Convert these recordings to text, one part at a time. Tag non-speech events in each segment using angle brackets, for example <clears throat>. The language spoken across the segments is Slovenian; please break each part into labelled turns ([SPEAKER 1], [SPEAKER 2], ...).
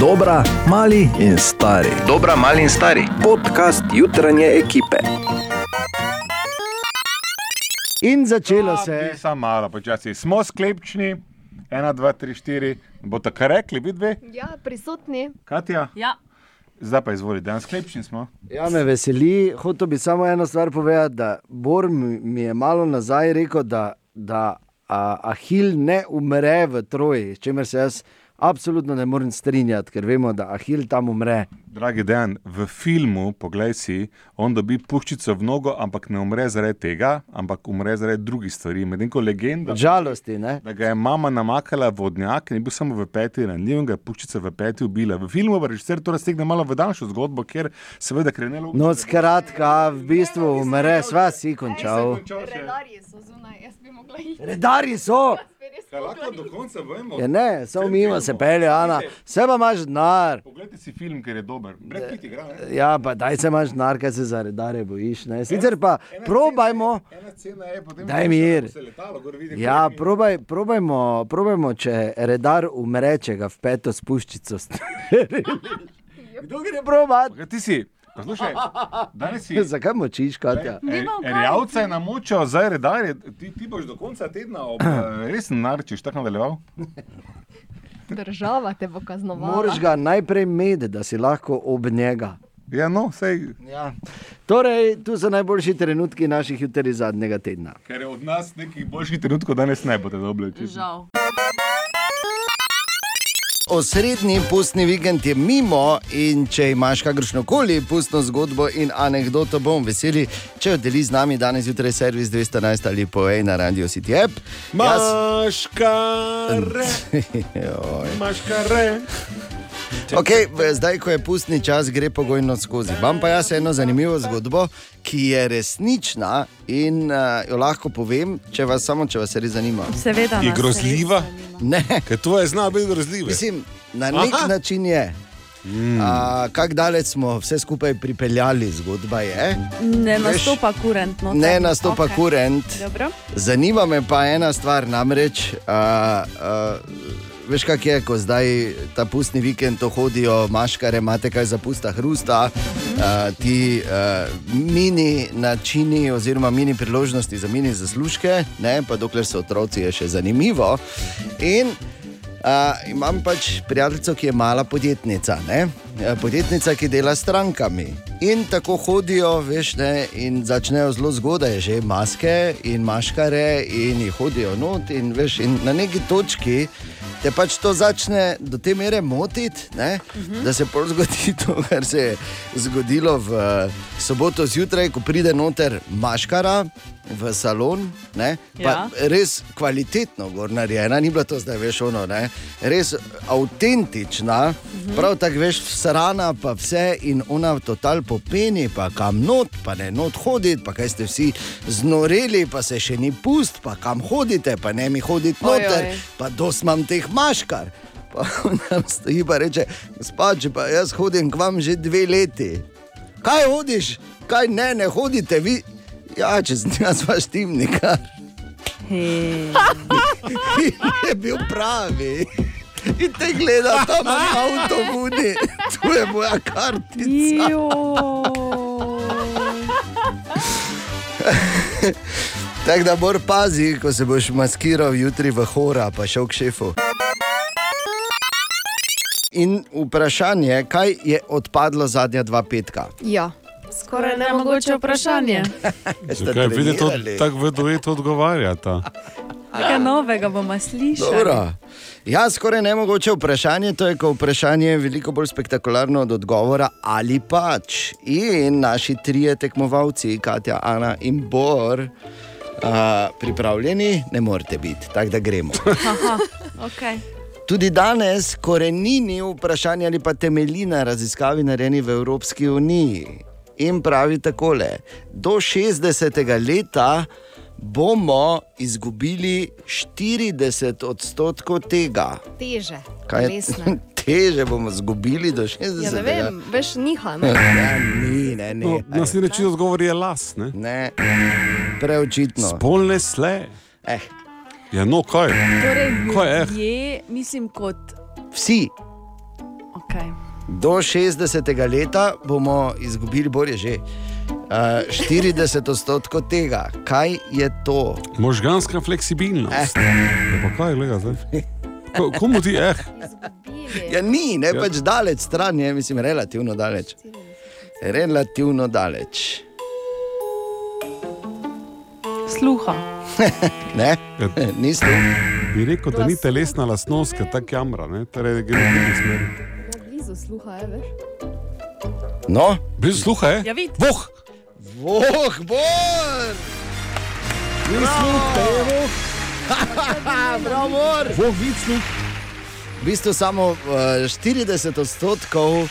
[SPEAKER 1] Dobra, mali in stari.
[SPEAKER 2] Dobra, mali in stari.
[SPEAKER 1] Podcast jutranje ekipe.
[SPEAKER 3] In začelo se
[SPEAKER 4] Ti
[SPEAKER 3] je.
[SPEAKER 4] Samo malo počasi. Smo sklepčni, ena, dva, tri, štiri. Boste kaj rekli, vi dve?
[SPEAKER 5] Ja, prisotni.
[SPEAKER 4] Katja?
[SPEAKER 6] Ja,
[SPEAKER 4] Zdaj pa izvoli, danes sklepčni smo.
[SPEAKER 3] Ja, me veseli. Hotel bi samo eno stvar povedati, da Bor mi mi je malo nazaj rekel, da, da a, Ahil ne umre v Troji, s čimer se jaz absolutno ne morem strinjati, ker vemo, da Ahil tam umre.
[SPEAKER 4] Dragi Dan, v filmu, poglej si, on dobi puščico v nogo, ampak ne umre zaradi tega, ampak umre zaradi drugih stvari. Medtem ko legenda,
[SPEAKER 3] Od žalosti, ne?
[SPEAKER 4] da ga je mama namakala vodnjak, ni bil samo v peti ranljiv, in ga je puščica v peti ubila. V filmu pa režiser to raztegne malo v daljšo zgodbo, ker seveda krenelo.
[SPEAKER 3] No, skratka, v bistvu umre, sva si končal.
[SPEAKER 5] Redarji so zunaj, jaz bi mogla iti.
[SPEAKER 3] Redarji so!
[SPEAKER 4] Lahko do konca vemo.
[SPEAKER 3] Ja, ne, samo mimo se pelje, Ana, vse pa imaš denar.
[SPEAKER 4] Poglejte si film, ker je dober. Brez piti igra. ne?
[SPEAKER 3] Ja, pa daj se imaš denar, kaj se za redarje bojiš. Ne? Sicer pa probajmo.
[SPEAKER 4] Ena cena je potem,
[SPEAKER 3] Daj mir.
[SPEAKER 4] se letalo, gor vidi.
[SPEAKER 3] Ja,
[SPEAKER 7] <laughs>
[SPEAKER 4] kolegi.
[SPEAKER 3] probaj, probajmo, probajmo, če redar umre, če ga v peto spuščico. Kdo gre probat?
[SPEAKER 4] Kaj ti si? Poslušaj, danes
[SPEAKER 3] <laughs>
[SPEAKER 4] si.
[SPEAKER 3] Zakaj močiš, Katja?
[SPEAKER 4] Er-
[SPEAKER 6] Nimam kaj.
[SPEAKER 4] Erjavca je namočil, zdaj redarje. Ti, ti boš do konca tedna
[SPEAKER 3] <clears throat>
[SPEAKER 4] ob, eh, res narčiš, tako nadaljeval.
[SPEAKER 5] Država te bo kaznovala.
[SPEAKER 3] Moraš ga najprej med, da si lahko ob njega.
[SPEAKER 4] Ja, no, sej,
[SPEAKER 3] Ja. Torej, tu so najboljši trenutki naših jutri zadnjega tedna.
[SPEAKER 4] ker je od nas nekih boljših trenutkov danes ne boste dobili. čisto.
[SPEAKER 6] žal.
[SPEAKER 3] Osrednji pustni vikend je mimo in če imaš kakršno koli pustno zgodbo in anegdoto, bom veseli, če jo deliš z nami danes zjutraj, servis 211 ali povej na radio City App.
[SPEAKER 7] Maškare,
[SPEAKER 3] <laughs> Joj.
[SPEAKER 7] maškare.
[SPEAKER 3] Okay, zdaj, ko je pustni čas, gre pogojno skozi. Imam pa jaz eno zanimivo zgodbo, ki je resnična in uh, jo lahko povem, če vas samo, če vas res zanima.
[SPEAKER 6] Seveda.
[SPEAKER 7] Je
[SPEAKER 6] nas
[SPEAKER 7] grozljiva?
[SPEAKER 6] res zanima.
[SPEAKER 3] Ne,
[SPEAKER 7] Ker to je znano biti grozljivo.
[SPEAKER 3] mislim, na nek Aha.
[SPEAKER 7] Aha.
[SPEAKER 3] način je. Mm. Kako daleč smo vse skupaj pripeljali, zgodba je.
[SPEAKER 6] Ne
[SPEAKER 3] Veš,
[SPEAKER 6] nastopa kurentno.
[SPEAKER 3] Ne nastopa okay. kurent.
[SPEAKER 6] No,
[SPEAKER 3] <laughs>
[SPEAKER 6] Dobro.
[SPEAKER 3] Zanima me pa ena stvar, namreč. A, a, Veš, kak je, ko zdaj ta pustni vikend to hodijo, maškare, imate kaj za pusta hrusta, a, ti a, mini načini, oziroma mini priložnosti za mini zaslužke, ne, pa dokler so otroci, je še zanimivo. In Uh, imam pač prijateljico, ki je mala podjetnica, ne? Eh, podjetnica, ki dela s strankami. In tako hodijo, veš, ne, in začnejo zelo zgodaj, že maske in maškare, in jih hodijo not. In, veš, in na neki točki te pač to začne do te mere motiti, ne, da se pol zgodi <laughs> to, kar se je zgodilo v eh, soboto zjutraj, ko pride noter maškara v salon. Ne, pa,
[SPEAKER 6] Ja.
[SPEAKER 3] res kvalitetno gor narejena, ni bila to zdaj veš ono, ne? res avtentična, prav tako veš, srana pa vse in ona total popeni, pa kam not, pa ne not hoditi, pa kaj ste vsi znoreli, pa se še ni pust, pa kam hodite, pa ne mi hoditi
[SPEAKER 6] Ojoj.
[SPEAKER 3] noter, pa dos imam teh maškar. <laughs> Pa nam stoji pa reče, spači pa jaz hodim k vam že dve leti. Kaj hodiš, kaj ne, ne hodite vi. Ja, če sem jaz vaš <laughs> timnikar
[SPEAKER 6] Hej.
[SPEAKER 3] je bil pravi. In te gleda tam na avtobuni, tu je moja kartica.
[SPEAKER 6] Joj.
[SPEAKER 3] Tako da moraš pazi, ko se boš maskiral jutri v hora, pa šel k šefu. In vprašanje, kaj je odpadlo zadnja dva petka?
[SPEAKER 5] Ja.
[SPEAKER 6] Skoraj nemogoče Torej, vprašanje.
[SPEAKER 7] Zakaj vidite, to
[SPEAKER 3] trenirali?
[SPEAKER 7] tako vedoveto odgovarjata?
[SPEAKER 6] Kaj novega bomo slišali?
[SPEAKER 3] Dobro. Ja, skoraj nemogoče vprašanje. To je, ko vprašanje je veliko bolj spektakularno od odgovora ali pač. In naši trije tekmovalci, Katja, Ana in Bor, uh, pripravljeni, ne morete biti, tako da gremo.
[SPEAKER 6] Aha, okay.
[SPEAKER 3] Tudi danes korenini vprašanja ali pa temelji na raziskavi narejeni v Evropski uniji. In pravi takole: do 60. leta bomo izgubili 40 odstotkov tega.
[SPEAKER 5] Teže.
[SPEAKER 3] Kaj
[SPEAKER 5] telesne.
[SPEAKER 3] <laughs> teže bomo izgubili do 60.
[SPEAKER 5] Ja, ne vem, veš, niha. Ne?
[SPEAKER 3] Ja, ni, ne, ne.
[SPEAKER 7] No, Naslednji reči odgovor je las, ne?
[SPEAKER 3] ne. Preočitno.
[SPEAKER 7] Spolne sle.
[SPEAKER 3] Eh,
[SPEAKER 7] Ja, no, kaj?
[SPEAKER 6] torej,
[SPEAKER 7] Ko je eh? F?
[SPEAKER 6] ljudje, mislim, kot
[SPEAKER 3] vsi,
[SPEAKER 6] Okay.
[SPEAKER 3] Do 60. leta bomo izgubili, bor je že uh, 40 odstotkov tega. Kaj je to?
[SPEAKER 7] Možganska fleksibilnost.
[SPEAKER 3] Eh.
[SPEAKER 7] Ja, pa kaj, gleda zdaj? Ko- Komu ti je? Eh?
[SPEAKER 3] Ja, ni, ne pač daleč stran, je, mislim, relativno daleč. Relativno daleč.
[SPEAKER 6] Sluha.
[SPEAKER 3] Ne, <laughs>
[SPEAKER 7] Ja,
[SPEAKER 3] niste.
[SPEAKER 7] Bi rekel, da ni telesna lastnost, ki tako jamra, ne? torej da gre v drugi smeri.
[SPEAKER 5] Blizu sluha je, veš.
[SPEAKER 3] No,
[SPEAKER 7] Bil sluha, je?
[SPEAKER 6] Ja, vid.
[SPEAKER 7] Voh!
[SPEAKER 3] voh, bor! Ni sluh, to je voh. <laughs> Bravo, bor!
[SPEAKER 7] Voh, vid, sluh.
[SPEAKER 3] V bistvu samo eh, 40 odstotkov eh,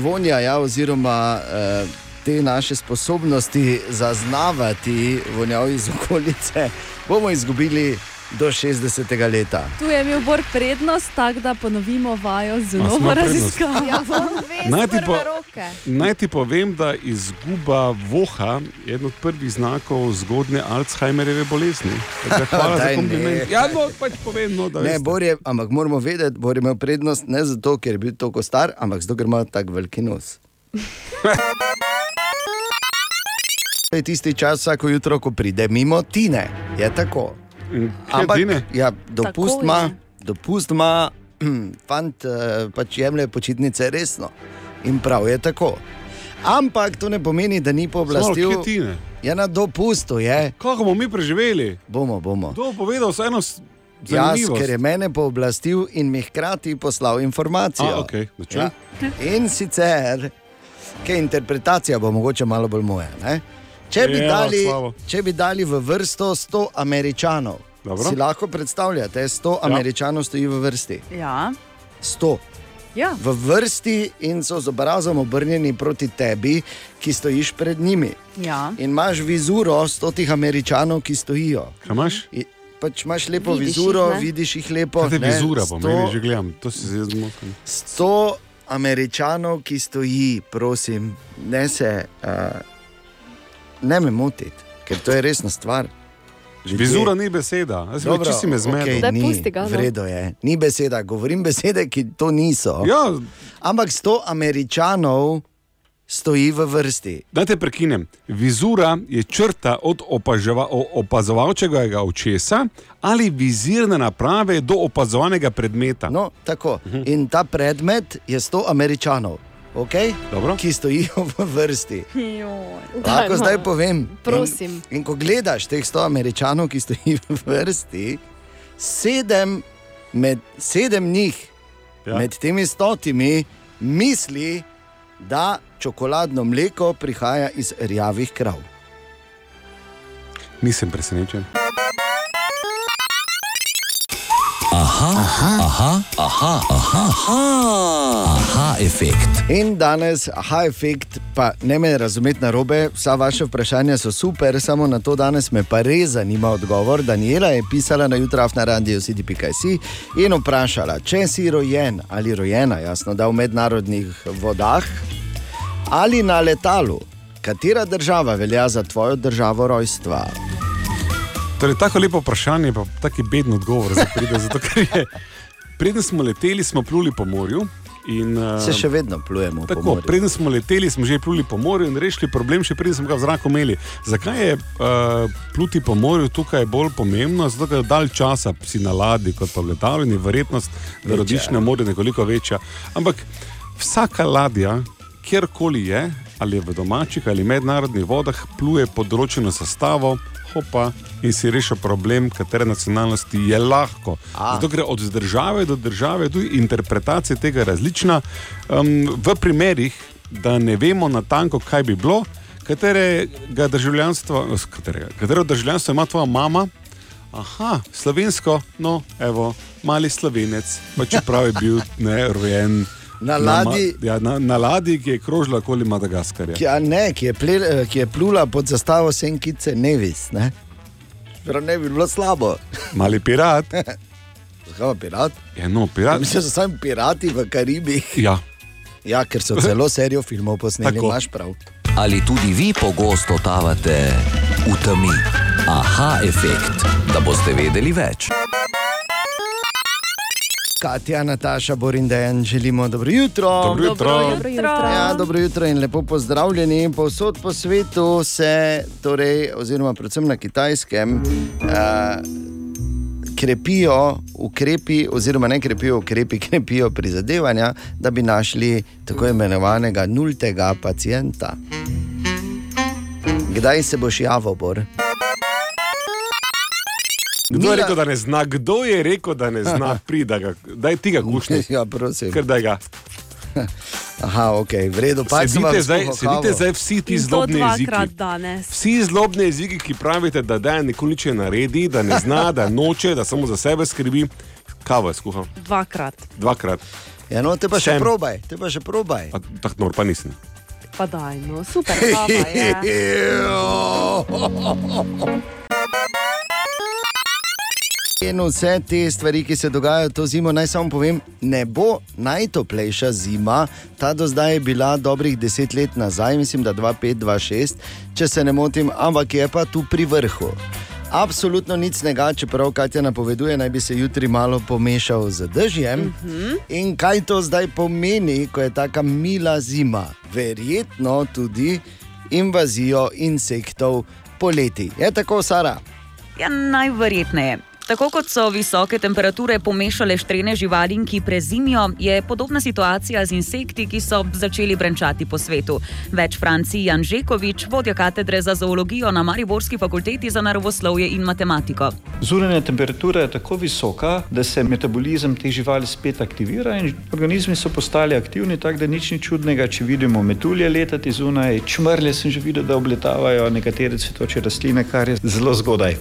[SPEAKER 3] vonja, ja, oziroma eh, te naše sposobnosti zaznavati vonjav iz okolice, bomo izgubili do 60. leta.
[SPEAKER 6] Tu je imel Bor prednost, tako da ponovimo vajo z
[SPEAKER 7] A smo
[SPEAKER 6] novo
[SPEAKER 7] prednost?
[SPEAKER 6] raziskavo.
[SPEAKER 5] Ja, on ve
[SPEAKER 7] Naj
[SPEAKER 5] iz
[SPEAKER 7] ti
[SPEAKER 5] prve
[SPEAKER 7] pa-
[SPEAKER 5] roke.
[SPEAKER 7] Naj ti povem, da izguba voha je eden od prvih znakov zgodne Alzheimerjeve bolezni. Tako
[SPEAKER 3] <laughs>
[SPEAKER 7] da Hvala
[SPEAKER 3] Daj,
[SPEAKER 7] za
[SPEAKER 3] ne.
[SPEAKER 7] kompliment. Ja, no, pač povem, no, da
[SPEAKER 3] Ne,
[SPEAKER 7] veste.
[SPEAKER 3] Borje, ampak moramo vedeti, da je imel prednost ne zato, ker je bil tako star, ampak zato, ker ima tako veliki <laughs> nos. To je tisti čas, vsako jutro, ko pride mimo Tine, je tako.
[SPEAKER 7] In kje
[SPEAKER 3] Ampak,
[SPEAKER 7] Tine?
[SPEAKER 3] ja, dopust
[SPEAKER 6] Tako
[SPEAKER 3] ima,
[SPEAKER 6] je.
[SPEAKER 3] dopust ima, <clears throat> fant eh, pač jemlje počitnice resno in prav je tako. Ampak to ne pomeni, da ni
[SPEAKER 7] Samo,
[SPEAKER 3] pooblastil.
[SPEAKER 7] kje Tine?
[SPEAKER 3] Je na dopustu, je.
[SPEAKER 7] Kako bomo mi preživeli?
[SPEAKER 3] bomo, bomo.
[SPEAKER 7] To bo povedal vseeno
[SPEAKER 3] Jaz, ker je
[SPEAKER 7] zanimivo.
[SPEAKER 3] mene pooblastil in mi hkrati poslal informacijo. Ja.
[SPEAKER 7] A, okej, začel.
[SPEAKER 3] In sicer, ki interpretacija bo mogoče malo bolj moja. Ne? Če bi,
[SPEAKER 7] Ja,
[SPEAKER 3] dali,
[SPEAKER 7] slabo.
[SPEAKER 3] če bi dali v vrsto 100 američanov,
[SPEAKER 7] Dobro.
[SPEAKER 3] si lahko predstavljate, 100 ja. američanov stoji v vrsti.
[SPEAKER 6] Ja.
[SPEAKER 3] 100
[SPEAKER 6] ja.
[SPEAKER 3] v vrsti in so z obrazom obrnjeni proti tebi, ki stojiš pred njimi.
[SPEAKER 6] ja.
[SPEAKER 3] In imaš vizuro stotih američanov, ki stojijo.
[SPEAKER 7] Kaj imaš?
[SPEAKER 3] I- Pač imaš lepo
[SPEAKER 5] Vidiš jih,
[SPEAKER 3] vizuro,
[SPEAKER 5] ne?
[SPEAKER 3] vidiš jih lepo.
[SPEAKER 7] Kaj te
[SPEAKER 3] ne,
[SPEAKER 7] vizura
[SPEAKER 3] sto-
[SPEAKER 7] pomeni, že gledam, to si zdaj zmotil.
[SPEAKER 3] 100 američanov, ki stoji, prosim, ne se, uh, ne me motiti, ker to je resna stvar. Ljudje-
[SPEAKER 7] Vizura ni beseda, jaz sem
[SPEAKER 3] Dobro,
[SPEAKER 7] čisto me zmedel.
[SPEAKER 3] okej,
[SPEAKER 5] Daj,
[SPEAKER 3] ni,
[SPEAKER 5] pusti ga, no.
[SPEAKER 3] V redu je, ni beseda, govorim besede, ki to niso.
[SPEAKER 7] Ja,
[SPEAKER 3] Ampak 100 američanov stoji v vrsti.
[SPEAKER 7] Da te prekinem. Vizura je črta od opaževa- o- opazovalčevega očesa ali vizirne naprave do opazovanega predmeta.
[SPEAKER 3] No, tako.
[SPEAKER 7] Mhm.
[SPEAKER 3] In ta predmet je 100 američanov, okay?
[SPEAKER 7] Dobro.
[SPEAKER 3] ki stojijo v vrsti.
[SPEAKER 5] Da,
[SPEAKER 3] Lahko
[SPEAKER 5] no.
[SPEAKER 3] zdaj povem.
[SPEAKER 5] Prosim.
[SPEAKER 3] In, in ko gledaš teh 100 američanov, ki stojijo v vrsti, sedem, med, sedem njih, ja.
[SPEAKER 7] Ja.
[SPEAKER 3] med temi stotimi, misli, da čokoladno mleko prihaja iz rjavih krav.
[SPEAKER 7] Nisem presenečen.
[SPEAKER 1] Aha, efekt.
[SPEAKER 3] In danes, aha, efekt, pa ne me razumeti na robe, vsa vaše vprašanja so super, samo na to danes me pa res zanima odgovor. Daniela je pisala na jutraf na radiju CDPKC in vprašala, če si rojen ali rojena, jasno, da v mednarodnih vodah ali na letalu, katera država velja za tvojo državo rojstva?
[SPEAKER 7] Torej, tako lepo vprašanje, pa tako beden odgovor za pride. Zato, ker je, preden smo leteli, smo pluli po morju. In, eh,
[SPEAKER 3] Se še vedno plujemo po
[SPEAKER 7] Tako,
[SPEAKER 3] morju.
[SPEAKER 7] preden smo leteli, smo že pluli po morju in rešili problem, še preden smo ga v zraku imeli. Zakaj je uh, pluti po morju tukaj bolj pomembno? Zato, ker dalj časa si na ladji kot pa v letalu in je verjetnost, da rodiš na morju nekoliko večja. Ampak vsaka ladja, kjerkoli je, ali je v domačih ali mednarodnih vodah, pluje pod določeno sestavo. Hopa, in si rešil problem, katere nacionalnosti je lahko.
[SPEAKER 3] A.
[SPEAKER 7] Zato, ker je od države do države tudi interpretacija tega različna. Um, v primerih, da ne vemo natanko, kaj bi bilo, katerega državljanstva, s katerega, katero državljanstvo ima tvoja mama. Aha, slovensko, no, evo, mali slovenec, pa čeprav je bil ne, rojen
[SPEAKER 3] Na
[SPEAKER 7] ma-
[SPEAKER 3] ladji. Ja.
[SPEAKER 7] ja, na, na ladji, ki je krožila okoli Madagaskarja.
[SPEAKER 3] Ki, a ne, ki, je ple, eh, ki je plula pod zastavo Senkice Nevis. Ne? Prav ne bi bilo slabo.
[SPEAKER 7] Mali pirat,
[SPEAKER 3] Zakaj pa pirat?
[SPEAKER 7] ja, no,
[SPEAKER 3] Ja,
[SPEAKER 7] pirat.
[SPEAKER 3] mislim, da so samo pirati v Karibih.
[SPEAKER 7] Ja,
[SPEAKER 3] Ja, ker so celo serijo filmov posneli,
[SPEAKER 7] Tako.
[SPEAKER 3] imaš prav.
[SPEAKER 1] Ali tudi vi pogosto totavate v temi? Aha, efekt, da boste vedeli več.
[SPEAKER 3] Katja, Nataša, Borin Dejan, želimo dobro jutro.
[SPEAKER 7] Dobro jutro.
[SPEAKER 6] Dobro jutro.
[SPEAKER 3] Ja, dobro jutro in lepo pozdravljeni. Povsod po svetu se, torej, oziroma predvsem na kitajskem, uh, krepijo ukrepi, oziroma ne krepijo ukrepi, <laughs> krepijo prizadevanja, da bi našli tako imenovanega nultega pacijenta. Kdaj se boš javil, Bor?
[SPEAKER 7] Kdo je rekel, da ne zna, kdo je rekel, da ne
[SPEAKER 3] <laughs>
[SPEAKER 7] zna, prida ga, daj ti ga gušni,
[SPEAKER 3] Ja, prosim.
[SPEAKER 7] ker daj ga.
[SPEAKER 3] Aha, ok, v redu, pač pa
[SPEAKER 7] Sedite zdaj, sedite zdaj vsi ti
[SPEAKER 6] In to
[SPEAKER 7] zlobni
[SPEAKER 6] dvakrat
[SPEAKER 7] jeziki.
[SPEAKER 6] danes.
[SPEAKER 7] Vsi zlobni jeziki, ki pravite, da da nikoli nič ne naredi, da ne zna, da noče, da samo za sebe skrbi. Kava je skuha,
[SPEAKER 6] Dvakrat,
[SPEAKER 7] dvakrat,
[SPEAKER 3] Ja, no, te pa še
[SPEAKER 7] Sem.
[SPEAKER 3] probaj, te pa še probaj.
[SPEAKER 7] A tako nor pa nisem.
[SPEAKER 6] pa dajmo,
[SPEAKER 3] <laughs>
[SPEAKER 6] super, kava je.
[SPEAKER 7] E,
[SPEAKER 3] In vse te stvari, ki se dogajajo to zimo, naj samo povem, ne bo najtoplejša zima. Ta do zdaj je bila dobrih deset let nazaj, mislim, da 2-5-2-6, če se ne motim, ampak je pa tu pri vrhu. Absolutno nič snega, čeprav Katja napoveduje, naj bi se jutri malo pomešal z dežjem. Mm -hmm. In kaj to zdaj pomeni, ko je tako mila zima? Verjetno tudi invazijo insektov poleti. Je tako, Sara?
[SPEAKER 2] Ja, najverjetneje. Tako kot so visoke temperature pomešale štrene živalim, ki prezimijo, je podobna situacija z insekti, ki so začeli brenčati po svetu. Več Francij Janžekovič, vodja katedre za zoologijo na Mariborski fakulteti za naravoslovje in matematiko.
[SPEAKER 8] Zunanja temperatura je tako visoka, da se metabolizem teh živali spet aktivira in organizmi so postali aktivni, tako da nič ni čudnega, če vidimo metulje letati zunaj, čmrlje sem že videl, da obletavajo nekatere cvetoče rastline, kar je zelo zgodaj.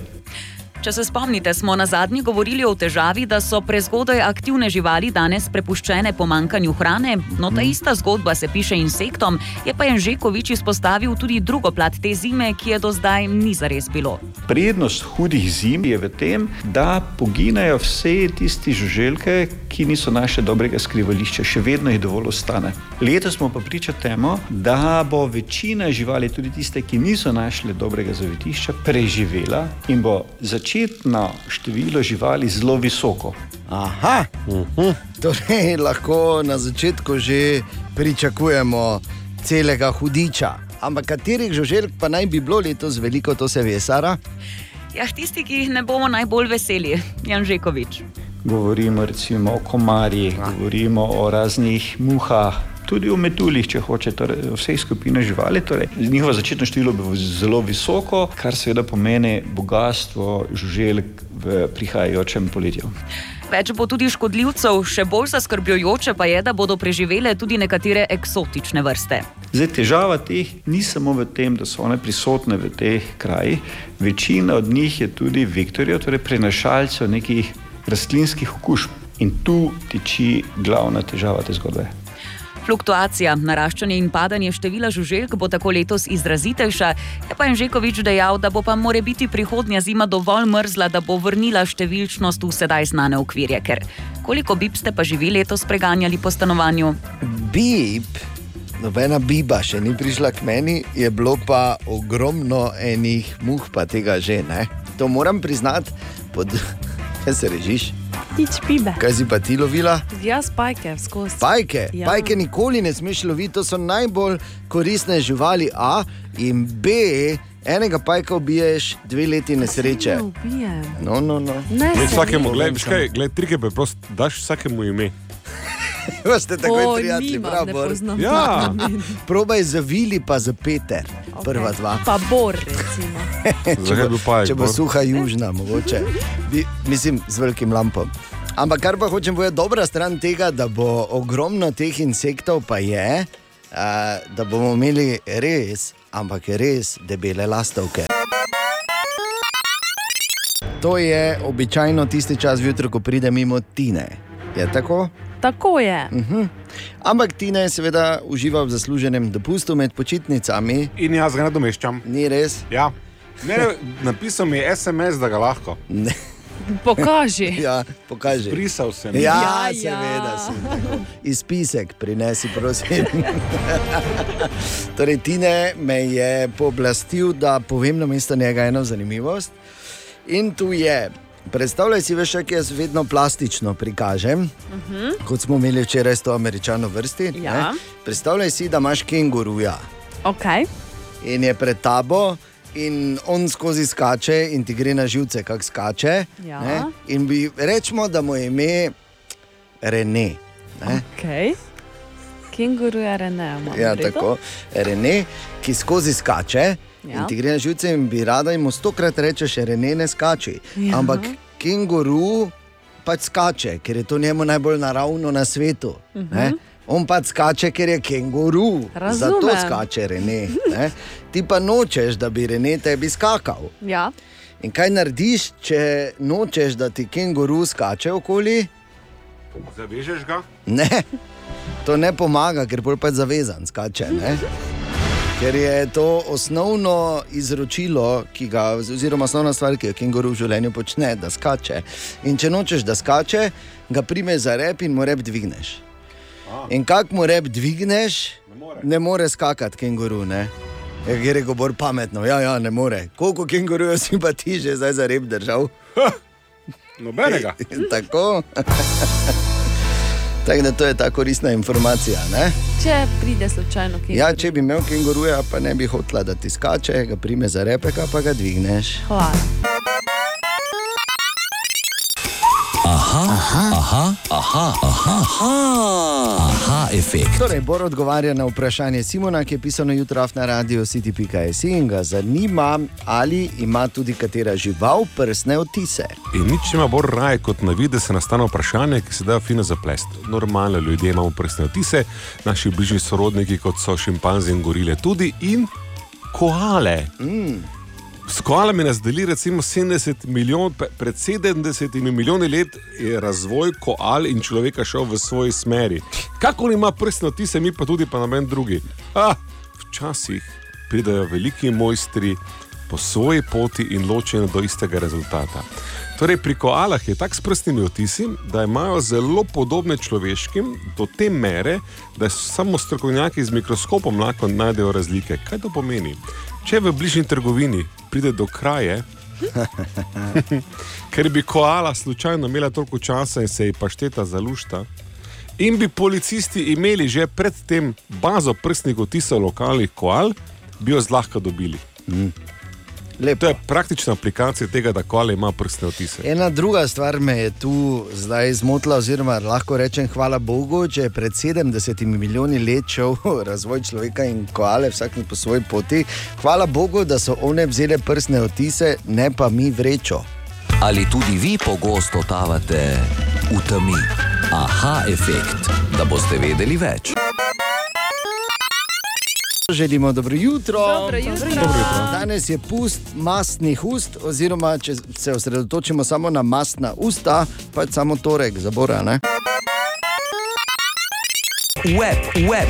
[SPEAKER 2] Če se spomnite, smo na zadnji govorili o težavi, da so prezgodaj aktivne živali danes prepuščene pomankanju hrane. No, ta ista zgodba se piše insektom, je pa Janžekovič izpostavil tudi drugo plat te zime, ki je do zdaj ni zares bilo.
[SPEAKER 8] Prednost hudih zim je v tem, da poginejo vse tiste žuželke, ki niso našle dobrega skrivališča, še vedno jih dovolj ostane. Letos smo pa priča temu, da bo večina živali, tudi tiste, ki niso našle dobrega zavetišča, preživela in bo začetno število živali zelo visoko.
[SPEAKER 3] Aha, torej lahko na začetku že pričakujemo celega hudiča. Ampak katerih žuželk pa naj bi bilo letos veliko, to se ve, Sara?
[SPEAKER 2] Ja, tisti, ki jih ne bomo najbolj veseli, Janžekovič.
[SPEAKER 8] Govorimo recimo o komarjih, govorimo o raznih muhah. Tudi v metuljih, če hočete, torej vse skupine živali. Torej, njihovo začetno število bo zelo visoko, kar seveda pomeni bogatstvo žuželk v prihajajočem poletju.
[SPEAKER 2] Več bo tudi škodljivcev, še bolj zaskrbljujoče pa je, da bodo preživele tudi nekatere eksotične vrste.
[SPEAKER 8] Zdaj, težava teh ni samo v tem, da so one prisotne v teh krajih, večina od njih je tudi vektorjev, torej prenašalcev nekih rastlinskih okužb. In tu tiči glavna težava te zgodbe.
[SPEAKER 2] Fluktuacija, naraščanje in padanje števila žuželk bo tako letos izrazitejša, je pa Janžekovič dejal, da bo pa more biti prihodnja zima dovolj mrzla, da bo vrnila številčnost v sedaj znane okvirje, ker koliko bib ste pa že vi letos preganjali po stanovanju?
[SPEAKER 3] Bib, nobena biba še ni prišla k meni, je bilo pa ogromno enih muh, pa tega že ne. To moram priznati, pod... <laughs> kaj se režiš,
[SPEAKER 6] Nič pibe.
[SPEAKER 3] kaj si pa ti lovila?
[SPEAKER 6] Jaz pajke skozi.
[SPEAKER 3] Pajke, ja.
[SPEAKER 6] Ja.
[SPEAKER 3] pajke nikoli ne smeš loviti, to so najbolj koristne živali. A in B, enega pajka ubiješ dve leti nesreče.
[SPEAKER 6] Ne ubijem.
[SPEAKER 3] No, no, no. <laughs>
[SPEAKER 6] Ne,
[SPEAKER 7] Ne,
[SPEAKER 6] se
[SPEAKER 7] vsakemu,
[SPEAKER 6] ne.
[SPEAKER 7] glej, veš kaj, glej, trike preprosto, daš vsakemu ime.
[SPEAKER 3] Veste, tako je
[SPEAKER 6] Oj,
[SPEAKER 3] prijatelj,
[SPEAKER 6] nimam,
[SPEAKER 3] prav,
[SPEAKER 6] ne
[SPEAKER 3] Bor.
[SPEAKER 6] poznam <laughs>
[SPEAKER 7] Ja.
[SPEAKER 6] takih imen.
[SPEAKER 3] Probaj za vili, pa za peter, okay.
[SPEAKER 6] Ok.
[SPEAKER 3] prva dva.
[SPEAKER 6] Pa bor, recimo.
[SPEAKER 7] Zakaj bi pa
[SPEAKER 3] Če bo suha južna, mogoče. Bi, mislim, z velikim lampom. Ampak kar pa hočem povedati, dobra stran tega, da bo ogromno teh insektov, pa je, uh, da bomo imeli res, ampak res debele lastovke. To je običajno tisti čas jutra, ko pride mimo Tine. Je tako?
[SPEAKER 6] Tako je.
[SPEAKER 3] Mhm. Ampak Tina je seveda uživala v zasluženem dopustu med počitnicami,
[SPEAKER 7] In jaz ga nadomeščam.
[SPEAKER 3] ni res?
[SPEAKER 7] Ja. Ne, napisal mi je SMS, da ga lahko.
[SPEAKER 3] <laughs>
[SPEAKER 6] Pokaži.
[SPEAKER 3] Ja, pokaži.
[SPEAKER 7] Brisal sem.
[SPEAKER 3] Ja,
[SPEAKER 6] Ja, ja.
[SPEAKER 3] seveda, sem tako. izpisek prinesi, prosim. <laughs> torej, Tine me je pooblastil, da povem na mesto njega eno zanimivost. In tu je, Predstavljaj si, veš, kaj jaz vedno plastično prikažem, uh -huh. kot smo imeli včeraj s to američano vrsti. ne.
[SPEAKER 6] Ja.
[SPEAKER 3] Predstavljaj si, da imaš kenguruja
[SPEAKER 6] Okay.
[SPEAKER 3] in je pred tabo. In on skozi skače, in ti gre na živce, kako skače.
[SPEAKER 6] Ja.
[SPEAKER 3] ne. In bi rečemo, da mu je ime Rene. Ne?
[SPEAKER 6] Okay. Kenguru je rene.
[SPEAKER 3] Ja, tako, Rene, ki skozi skače. Ja.
[SPEAKER 6] Ja.
[SPEAKER 3] In ti gre na živce, in bi rada jim stokrat rečeš, Rene ne skači. Ja. Ampak kenguru pač skače, ker je to njemu najbolj naravno na svetu. Uh -huh.
[SPEAKER 6] Mhm.
[SPEAKER 3] On pač skače, ker je kenguru.
[SPEAKER 6] Razumem.
[SPEAKER 3] Zato skače Rene. Ne? Ti pa nočeš, da bi Rene tebi skakal.
[SPEAKER 6] Ja.
[SPEAKER 3] In kaj narediš, če nočeš, da ti kenguru skače okoli?
[SPEAKER 7] Zavežeš ga?
[SPEAKER 3] Ne, to ne pomaga, ker bolj pač zavezan skače. Ne? Ker je to osnovno izročilo, ki ga, oziroma osnovna stvar, ki jo kenguru v življenju počne, da skače. In če nočeš, da skače, ga primeš za rep in mu rep dvigneš. In kak mu rep dvigneš, ne more, ne more skakati kenguru. Ne? Ja, Ker je govor pametno, ja, ja, ne more. Koliko kengurujev si pa ti že zdaj za rep držal?
[SPEAKER 7] Nobenega.
[SPEAKER 3] <laughs> Tako. Tako da to je ta koristna informacija. Ne?
[SPEAKER 6] Če pride slučajno kenguru.
[SPEAKER 3] Ja, če bi imel kenguruja, pa ne bi hotla, da ti skače, ga prime za repeka, pa ga dvigneš.
[SPEAKER 6] Hvala.
[SPEAKER 1] Aha efekt.
[SPEAKER 3] Torej, Bor odgovarja na vprašanje Simona, ki je pisano jutra na radiju city.js in ga zanima, ali ima tudi katera žival prsne otise.
[SPEAKER 7] In nič ima bolj raje kot na vides nastane vprašanje, ki se da fino zaplest. Normalno ljudje imamo prsne otise, naši bližnji sorodniki, kot so šimpanzi in gorile, tudi in koale. Mm. S koalami nas deli recimo 70 milijonov, pred 70 milijoni let je razvoj koal in človeka šel v svoji smeri. Kako ima prsne otise, mi pa tudi, pa noben drugi. Ah, včasih pridejo veliki mojstri po svoji poti in ločeni do istega rezultata. Torej, pri koalah je tako s prstnimi otisi, da imajo zelo podobne človeškim do te mere, da samo strokovnjaki z mikroskopom lahko najdejo razlike. Kaj to pomeni? Če v bližnji trgovini pride do kraje, <laughs> ker bi koala slučajno imela toliko časa in se ji pašteta zalušta. In bi policisti imeli že predtem bazo prstnih otisov lokalnih koal, bi jo zlahka dobili. To
[SPEAKER 3] Lepo.
[SPEAKER 7] je praktična aplikacija tega, da koala ima prstne otise.
[SPEAKER 3] Ena druga stvar me je tu zdaj zmotila, oziroma lahko rečem, hvala Bogu, če je pred 70 milijoni let šel <laughs> razvoj človeka in koale, vsak po svoji poti. Hvala Bogu, da so one vzele prsne otise, ne pa mi vrečo.
[SPEAKER 1] Ali tudi vi pogosto totavate v temi? Aha efekt, da boste vedeli več.
[SPEAKER 3] Želimo dobro jutro.
[SPEAKER 6] Dobro jutro. Dobro jutro.
[SPEAKER 3] Danes je pust masnih ust, oziroma če se osredotočimo samo na masna usta, pa je samo torek, zabora. Ne?
[SPEAKER 1] Web, web,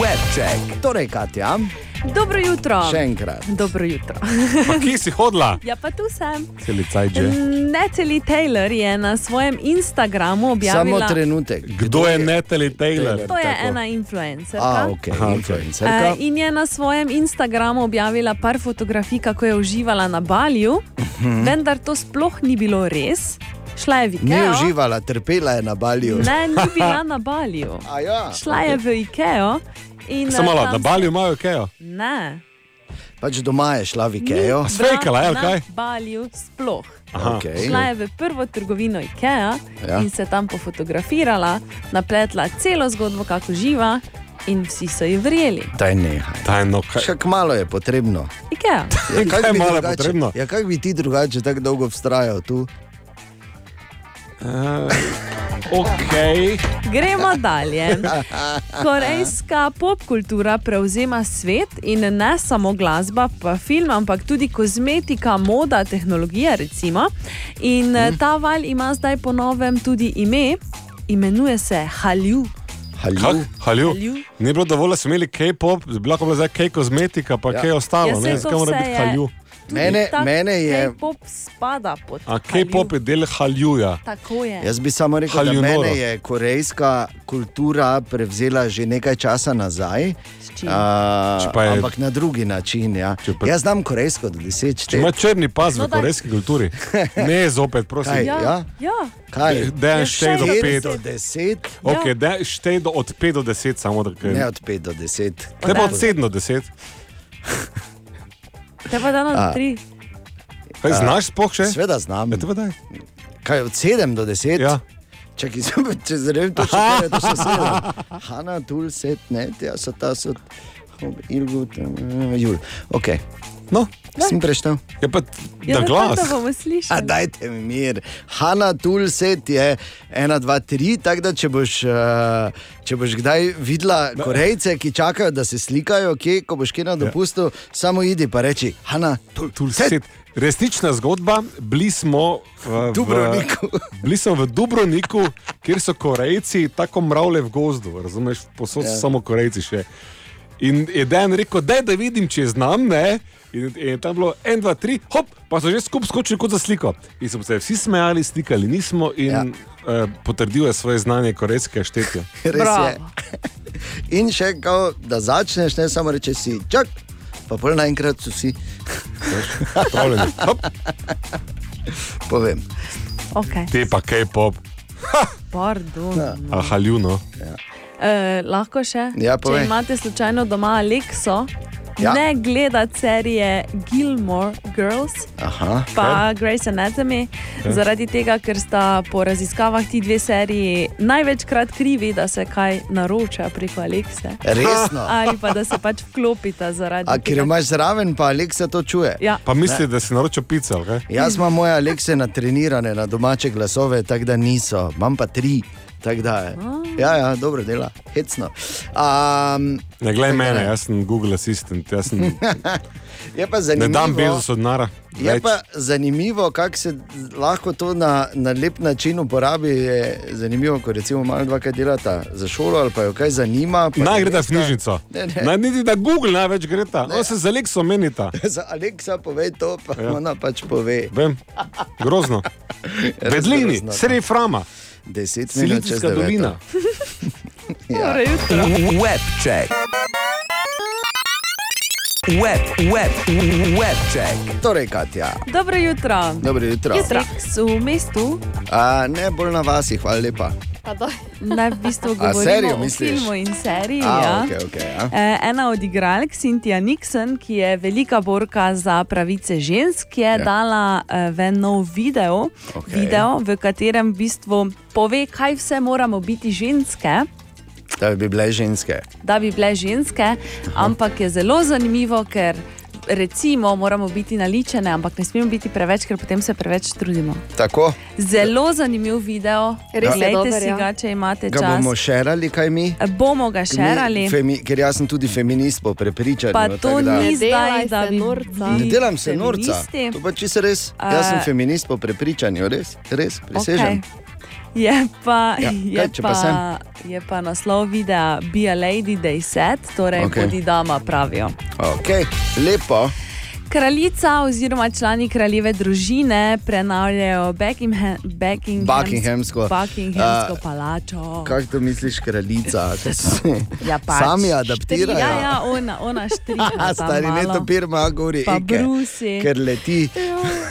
[SPEAKER 1] web check.
[SPEAKER 3] Torej, Katja,
[SPEAKER 6] Dobro jutro.
[SPEAKER 3] še enkrat.
[SPEAKER 6] Dobro jutro. <laughs>
[SPEAKER 7] Pa kje si hodila?
[SPEAKER 6] ja, pa tu sem.
[SPEAKER 7] Celicaj že.
[SPEAKER 6] Natalie Taylor je na svojem Instagramu objavila.
[SPEAKER 3] Samo trenutek.
[SPEAKER 7] Kdo je Natalie Taylor?
[SPEAKER 6] To je
[SPEAKER 7] Tako.
[SPEAKER 6] ena influencerka.
[SPEAKER 3] A, ok,
[SPEAKER 7] Aha,
[SPEAKER 3] influencerka.
[SPEAKER 6] Eh, In je na svojem Instagramu objavila par fotografij, kako je uživala na Balju,
[SPEAKER 7] Mhm.
[SPEAKER 6] vendar to sploh ni bilo res. Šla je v
[SPEAKER 3] Ni
[SPEAKER 6] Ikeo.
[SPEAKER 3] uživala, trpela je na balju.
[SPEAKER 6] Ne, ni bila na
[SPEAKER 7] <laughs>
[SPEAKER 6] Balju.
[SPEAKER 3] A Ja.
[SPEAKER 6] Šla je v Ikeo. in,
[SPEAKER 7] Samo
[SPEAKER 6] eh,
[SPEAKER 7] malo,
[SPEAKER 6] tam
[SPEAKER 7] na
[SPEAKER 6] se-
[SPEAKER 7] Balju imajo kejo.
[SPEAKER 6] Ne.
[SPEAKER 3] Pač doma je šla v Ikejo.
[SPEAKER 6] Bila
[SPEAKER 7] Fejkala je, ali
[SPEAKER 6] na
[SPEAKER 7] kaj?
[SPEAKER 6] Balju sploh.
[SPEAKER 3] Okay.
[SPEAKER 6] Šla je v prvo trgovino IKEA
[SPEAKER 3] Ja.
[SPEAKER 6] ja. in se tam pofotografirala, napletla celo zgodbo, kako živa, in vsi so ji verjeli.
[SPEAKER 3] Daj nehaj.
[SPEAKER 7] Taj, no, kaj?
[SPEAKER 3] Še malo je potrebno.
[SPEAKER 6] IKEA.
[SPEAKER 3] Ja,
[SPEAKER 7] Kaj
[SPEAKER 3] bi
[SPEAKER 7] malo je
[SPEAKER 3] drugače-
[SPEAKER 7] potrebno?
[SPEAKER 3] Ja, kaj bi ti drugače tako dolgo vztrajal tu?
[SPEAKER 7] Ok.
[SPEAKER 6] Gremo dalje. Korejska popkultura prevzema svet in ne samo glasba, pa film, ampak tudi kozmetika, moda, tehnologija. Recimo. In mm.
[SPEAKER 3] Mhm.
[SPEAKER 6] ta val ima zdaj po novem tudi ime, imenuje se Halju.
[SPEAKER 7] Kak?
[SPEAKER 3] Halju.
[SPEAKER 7] Halju.
[SPEAKER 6] Halju.
[SPEAKER 7] Ni bilo dovolj, da smo imeli K-pop, bi lahko bila zdaj K-kozmetika, pa
[SPEAKER 3] Ja.
[SPEAKER 7] K-ostalo,
[SPEAKER 6] Ja, sej
[SPEAKER 7] ne,
[SPEAKER 6] to
[SPEAKER 7] zakaj mora
[SPEAKER 6] vse
[SPEAKER 7] biti
[SPEAKER 6] je-
[SPEAKER 7] Halju.
[SPEAKER 6] tudi
[SPEAKER 3] Mene-
[SPEAKER 6] ta
[SPEAKER 3] mene je-
[SPEAKER 6] K-pop spada pod
[SPEAKER 7] A K-pop je del haljuja.
[SPEAKER 6] Tako je.
[SPEAKER 3] Jaz bi samo rekel, da
[SPEAKER 7] Haljunoro.
[SPEAKER 3] mene je korejska kultura prevzela že nekaj časa nazaj.
[SPEAKER 6] S čim?
[SPEAKER 3] A,
[SPEAKER 7] Če pa je-
[SPEAKER 3] ampak na drugi način. Ja.
[SPEAKER 7] Če pa-
[SPEAKER 3] Jaz znam korejsko od 10
[SPEAKER 7] Če ima
[SPEAKER 3] let.
[SPEAKER 7] črni pas
[SPEAKER 6] No,
[SPEAKER 7] v
[SPEAKER 6] daj.
[SPEAKER 7] korejski
[SPEAKER 3] <laughs>
[SPEAKER 7] kulturi. Ne, zopet,
[SPEAKER 3] Kaj?
[SPEAKER 7] prosim.
[SPEAKER 6] ja,
[SPEAKER 3] ja?
[SPEAKER 6] ja. ja.
[SPEAKER 3] Kaj?
[SPEAKER 7] Dejan, štej do
[SPEAKER 6] Štiri
[SPEAKER 3] 5
[SPEAKER 7] pet.
[SPEAKER 3] do 10,
[SPEAKER 6] ja.
[SPEAKER 7] Ok, daj, štej do od 5 do 10, samo da
[SPEAKER 3] ne
[SPEAKER 7] kaj.
[SPEAKER 3] od 5 do 10.
[SPEAKER 7] Ne pa od
[SPEAKER 6] Ja.
[SPEAKER 7] 7 do 10.
[SPEAKER 6] Te pa dano
[SPEAKER 3] A.
[SPEAKER 6] tri.
[SPEAKER 7] Kaj, znaš spoh še?
[SPEAKER 3] Sveda znam.
[SPEAKER 7] Ja, te pa daj.
[SPEAKER 3] Kaj od 7 do 10?
[SPEAKER 7] Ja.
[SPEAKER 3] Čakaj, <laughs> sem- če zrem, to še
[SPEAKER 7] <laughs>
[SPEAKER 3] ne, to še sedem. Hana, tul, set, ne, tja so ta, so, ilgu, jul. Ok,
[SPEAKER 7] No,
[SPEAKER 3] sem preštel.
[SPEAKER 7] je pa na
[SPEAKER 6] Ja,
[SPEAKER 7] glas.
[SPEAKER 6] Da bomo
[SPEAKER 3] A
[SPEAKER 6] slišali.
[SPEAKER 3] dajte mi mir. Hanna Tulset je 1, 2, 3, tako da če boš, eh, če boš kdaj videla
[SPEAKER 7] No.
[SPEAKER 3] Korejce, ki čakajo, da se slikajo, kje, ko boš kje na dopustu, ja. samo idi pa reči, Hanna Tulset.
[SPEAKER 7] Tulset. Resnična zgodba, bili smo v,
[SPEAKER 3] Dubrovniku.
[SPEAKER 7] V, <laughs> bili smo v Dubrovniku, kjer so Korejci tako mravlje v gozdu, razumeš, posod so
[SPEAKER 3] Ja.
[SPEAKER 7] samo Korejci še. In je Dan rekel, daj, da vidim, če je znam, ne. In je tam bilo en, dva, tri, hop, pa so že skupaj skočili kot za sliko. In smo se vsi smejali, slikali nismo in ja.
[SPEAKER 3] Ja.
[SPEAKER 7] eh, potrdil je svoje znanje korejskega štetja.
[SPEAKER 3] Res
[SPEAKER 6] Bravo.
[SPEAKER 3] je. <laughs> In še kao, da začneš, ne samo reči si, čak, pa pol naenkrat so vsi, <laughs>
[SPEAKER 7] Pravljeni, hop,
[SPEAKER 3] povem.
[SPEAKER 6] Okay.
[SPEAKER 7] te pa K-pop,
[SPEAKER 6] Pardon. Ja.
[SPEAKER 7] aha, ljuno.
[SPEAKER 6] Eh, lahko še,
[SPEAKER 3] Ja, povej.
[SPEAKER 6] če imate slučajno doma Alexo, ja.
[SPEAKER 3] Ja.
[SPEAKER 6] ne gledate serije Gilmore Girls.
[SPEAKER 3] Aha.
[SPEAKER 6] Pa Grace Anatomy, okay. zaradi tega, ker sta po raziskavah ti dve seriji največkrat krivi, da se kaj naroča preko Alexe. <laughs>
[SPEAKER 3] Resno.
[SPEAKER 6] Ali pa da se pač vklopita zaradi
[SPEAKER 3] Ah. A ker jo imaš zraven, pa Aleksa to čuje.
[SPEAKER 6] Ja,
[SPEAKER 7] Pa misli, da si naročil pico, ali kaj?
[SPEAKER 3] Jaz imam moje Alekse natrenirane na domače glasove, tako da niso, imam pa tri. tako Da, eh. ja, ja, dobro dela, hecno. Um,
[SPEAKER 7] Ne glej mene, jaz sem Google Assistant, jaz sem,
[SPEAKER 3] <laughs> Ja, je pa
[SPEAKER 7] ne dam
[SPEAKER 3] zanimivo,
[SPEAKER 7] Bezosu denara.
[SPEAKER 3] je
[SPEAKER 7] več.
[SPEAKER 3] Ja, pa zanimivo kako se lahko to na, na lep način uporabi. Je zanimivo, ko recimo malo dva, kaj delata za šolo ali pa jo kaj zanima. pa
[SPEAKER 7] Naj
[SPEAKER 3] ne
[SPEAKER 7] gre ta v
[SPEAKER 3] vesta.
[SPEAKER 7] knjižnico.
[SPEAKER 3] Ne, ne.
[SPEAKER 7] Naj niti da Google največ gre ta. No se za Lexo menita.
[SPEAKER 3] Za Aleksa povej to, pa
[SPEAKER 7] Ja.
[SPEAKER 3] ja. ona pač pove.
[SPEAKER 7] Vem,
[SPEAKER 3] <laughs>
[SPEAKER 7] grozno. Bedlini,
[SPEAKER 3] grozno.
[SPEAKER 7] sredi Frama,
[SPEAKER 3] Deset minut čez
[SPEAKER 7] Silicijska
[SPEAKER 3] devet.
[SPEAKER 7] dolina.
[SPEAKER 3] Ja.
[SPEAKER 6] torej jutro.
[SPEAKER 1] Web check. Web, web, web check.
[SPEAKER 3] Torej, Katja,
[SPEAKER 6] Dobro jutro.
[SPEAKER 3] dobro jutro.
[SPEAKER 6] Jutro. Alex v mestu
[SPEAKER 3] A, ne bolj na vas, hvala lepa.
[SPEAKER 5] Pa daj.
[SPEAKER 6] naj v bistvu
[SPEAKER 3] A,
[SPEAKER 6] govorimo
[SPEAKER 3] serijo
[SPEAKER 6] o
[SPEAKER 3] misliš?
[SPEAKER 6] filmu in seriji.
[SPEAKER 3] A,
[SPEAKER 6] ja.
[SPEAKER 3] okay, okay, a?
[SPEAKER 6] E, Ena od igralk, Cynthia Nixon, ki je velika borka za pravice žensk, je ja. dala eh, ven nov video, okay.
[SPEAKER 3] Okej.
[SPEAKER 6] video, v katerem v bistvu pove, kaj vse moramo biti ženske.
[SPEAKER 3] Da bi bile ženske.
[SPEAKER 6] Da bi bile ženske, Aha. ampak je zelo zanimivo, ker recimo moramo biti naličene, ampak ne smemo biti preveč, ker potem se preveč trudimo.
[SPEAKER 3] Tako,
[SPEAKER 6] Zelo zanimiv video,
[SPEAKER 5] Res je
[SPEAKER 6] Glejte
[SPEAKER 5] dober,
[SPEAKER 6] si
[SPEAKER 5] ja.
[SPEAKER 6] ga, če imate
[SPEAKER 3] ga bomo
[SPEAKER 6] čas.
[SPEAKER 3] šerali, kaj mi?
[SPEAKER 6] Bomo ga
[SPEAKER 3] Mi,
[SPEAKER 6] šerali.
[SPEAKER 3] Femi, ker jaz sem tudi feminist, po prepričanju.
[SPEAKER 6] Pa
[SPEAKER 3] tako
[SPEAKER 6] to
[SPEAKER 3] da-
[SPEAKER 6] ni
[SPEAKER 5] Ne
[SPEAKER 6] zdaj,
[SPEAKER 5] delaj
[SPEAKER 6] da
[SPEAKER 5] se
[SPEAKER 6] bi
[SPEAKER 5] norca.
[SPEAKER 3] Ne
[SPEAKER 6] bili
[SPEAKER 3] delam se norca.
[SPEAKER 6] feministi.
[SPEAKER 3] To pa čisto res. Jaz
[SPEAKER 6] Eh.
[SPEAKER 3] sem feminist po prepričanju, res, res prisežem.
[SPEAKER 6] Okej. Je pa, ja,
[SPEAKER 3] Ja, kaj,
[SPEAKER 6] je,
[SPEAKER 3] če
[SPEAKER 6] pa,
[SPEAKER 3] pa sem?
[SPEAKER 6] je pa naslov videa Be a Lady, they said, torej
[SPEAKER 3] Okej.
[SPEAKER 6] okay. bodi dama, pravijo.
[SPEAKER 3] Okay. Okay. Lepo.
[SPEAKER 6] Kraljica oziroma člani kraljeve družine prenavljajo Buckingham, Buckingham,
[SPEAKER 3] Buckinghamsko.
[SPEAKER 6] Buckinghamsko
[SPEAKER 3] A,
[SPEAKER 6] palačo.
[SPEAKER 3] Kaj to misliš, kraljica?
[SPEAKER 6] Ja, <laughs> pač.
[SPEAKER 3] Sami adaptirajo.
[SPEAKER 6] Ja, ja, ona, ona štrika.
[SPEAKER 3] <laughs> A stari neto pirma govori,
[SPEAKER 6] Pa
[SPEAKER 3] ike,
[SPEAKER 6] brusi. Ja.
[SPEAKER 3] ker leti,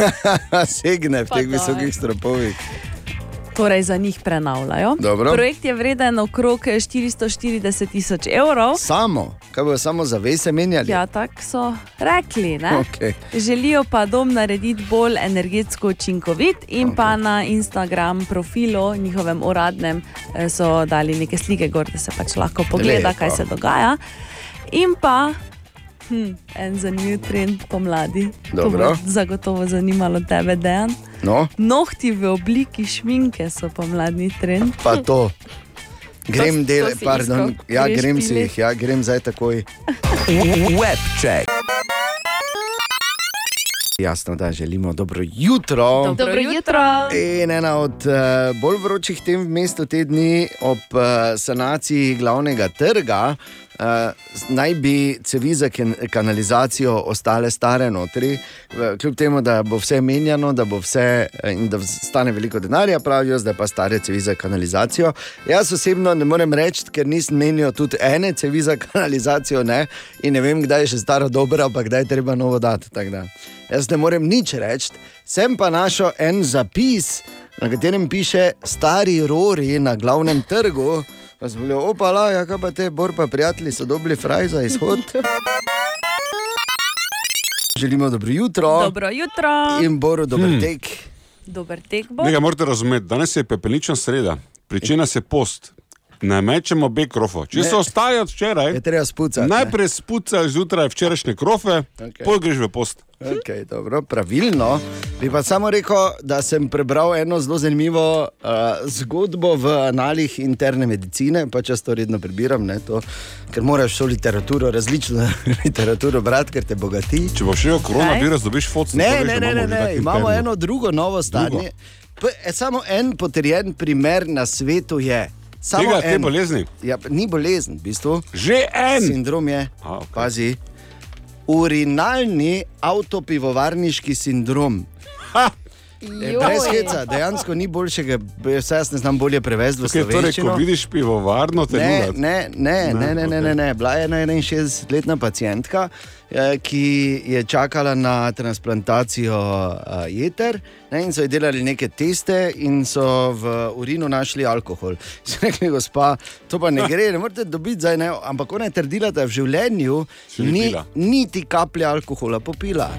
[SPEAKER 3] <laughs> segne v
[SPEAKER 6] Pa
[SPEAKER 3] teh
[SPEAKER 6] daj.
[SPEAKER 3] visokih stropovih.
[SPEAKER 6] Torej za njih prenavljajo.
[SPEAKER 3] Dobro.
[SPEAKER 6] Projekt je vreden okrog 440 tisoč evrov.
[SPEAKER 3] Samo, kaj bo samo zavese menjali?
[SPEAKER 6] Ja, tako so rekli. Ne?
[SPEAKER 3] Okej.
[SPEAKER 6] Želijo pa dom narediti bolj energetsko učinkovit, in okay. pa na Instagram profilu, njihovem uradnem, eh, so dali neke slike, gor, da se pač lahko pogleda,
[SPEAKER 3] Lepo.
[SPEAKER 6] kaj se dogaja. In pa hm, en zanimiv trend pomladi. To
[SPEAKER 3] Dobro.
[SPEAKER 6] bo zagotovo zanimalo tebe, Dejan.
[SPEAKER 3] No,
[SPEAKER 6] Nohti v obliki šminke so pomladni trend.
[SPEAKER 3] pa to. Grem
[SPEAKER 5] To- to
[SPEAKER 3] delati,
[SPEAKER 5] si
[SPEAKER 3] pardon,
[SPEAKER 5] iskal.
[SPEAKER 3] ja,
[SPEAKER 6] Greš
[SPEAKER 3] grem si
[SPEAKER 6] pilit?
[SPEAKER 3] jih, ja, grem zdaj takoj.
[SPEAKER 1] Web check.
[SPEAKER 3] Jasno, da želimo dobro jutro.
[SPEAKER 5] Dobro jutro.
[SPEAKER 3] In ena od eh, bolj vročih tem v mestu te dni ob eh, sanaciji glavnega trga, eh, Uh, naj bi cevi za ken- kanalizacijo ostale stare notri, v- kljub temu, da bo vse menjano, da bo vse eh, in da vz- stane veliko denarja, pravijo, zdaj pa stare cevi za kanalizacijo. Jaz osebno ne morem reči, ker nisem menil tudi ene cevi za kanalizacijo ne, in ne vem, kdaj je še stara dobra, pa kdaj je treba novo dati. tako da. Jaz ne morem nič reči, sem pa našel en zapis, na katerem piše stari rori na glavnem trgu. Pa smo bili opala, ja, kaj pa te borbe, prijatelji so dobili fraj za
[SPEAKER 6] <laughs>
[SPEAKER 3] izhod. Želimo dobro jutro
[SPEAKER 6] Dobro jutro, Hm.
[SPEAKER 3] in boru dober hmm. tek.
[SPEAKER 6] dober tek bo.
[SPEAKER 7] Nekaj morate razumeti, danes je pepelnična sreda, pričina se post. Ne mečemo beg krofo. Če se ostaje od včeraj,
[SPEAKER 3] Je treba spucati. ne?
[SPEAKER 7] najprej spucaš zjutraj včerajšnje krofe,
[SPEAKER 3] Okej.
[SPEAKER 7] okay. pol greš v post.
[SPEAKER 3] Okay, dobro, pravilno. Bi pa samo rekel, da sem prebral eno zelo zanimivo uh, zgodbo v analih interne medicine, pa če to redno prebiram, ne, to, ker moraš vso literaturo, različno <laughs> literaturo brati, ker te bogati.
[SPEAKER 7] Če boš šel koronavirus, dobiš fotka.
[SPEAKER 3] Ne, ne, ne, ne, ne. imamo eno drugo novo stanje. Drugo. Samo en potrjen primer na svetu je. Samo
[SPEAKER 7] Tega, te
[SPEAKER 3] en.
[SPEAKER 7] bolezni.
[SPEAKER 3] Ja, pa ni bolezen, v bistvu.
[SPEAKER 7] Že en!
[SPEAKER 3] Sindrom je,
[SPEAKER 7] A, okej.
[SPEAKER 3] pazi, urinalni avtopivovarniški sindrom. E, Brez heca, dejansko ni boljšega, vse jaz ne znam bolje prevesti v
[SPEAKER 7] Kaj, torej, ko
[SPEAKER 3] slovenščino.
[SPEAKER 7] vidiš pivovarno, te
[SPEAKER 3] Ne,
[SPEAKER 7] nula.
[SPEAKER 3] ne, ne, ne, ne, ne, ne, ne. Bila je ena 61-letna pacijentka, eh, ki je čakala na transplantacijo eh, jeter. Ne, in so ji delali neke teste, in so v urinu našli alkohol. So rekli, gospa, to pa ne gre, ne morete dobiti zdaj. Ne. Ampak ona je trdila, da v življenju
[SPEAKER 7] Še ni
[SPEAKER 3] ni,
[SPEAKER 7] pila.
[SPEAKER 3] niti kaplje alkohola popila.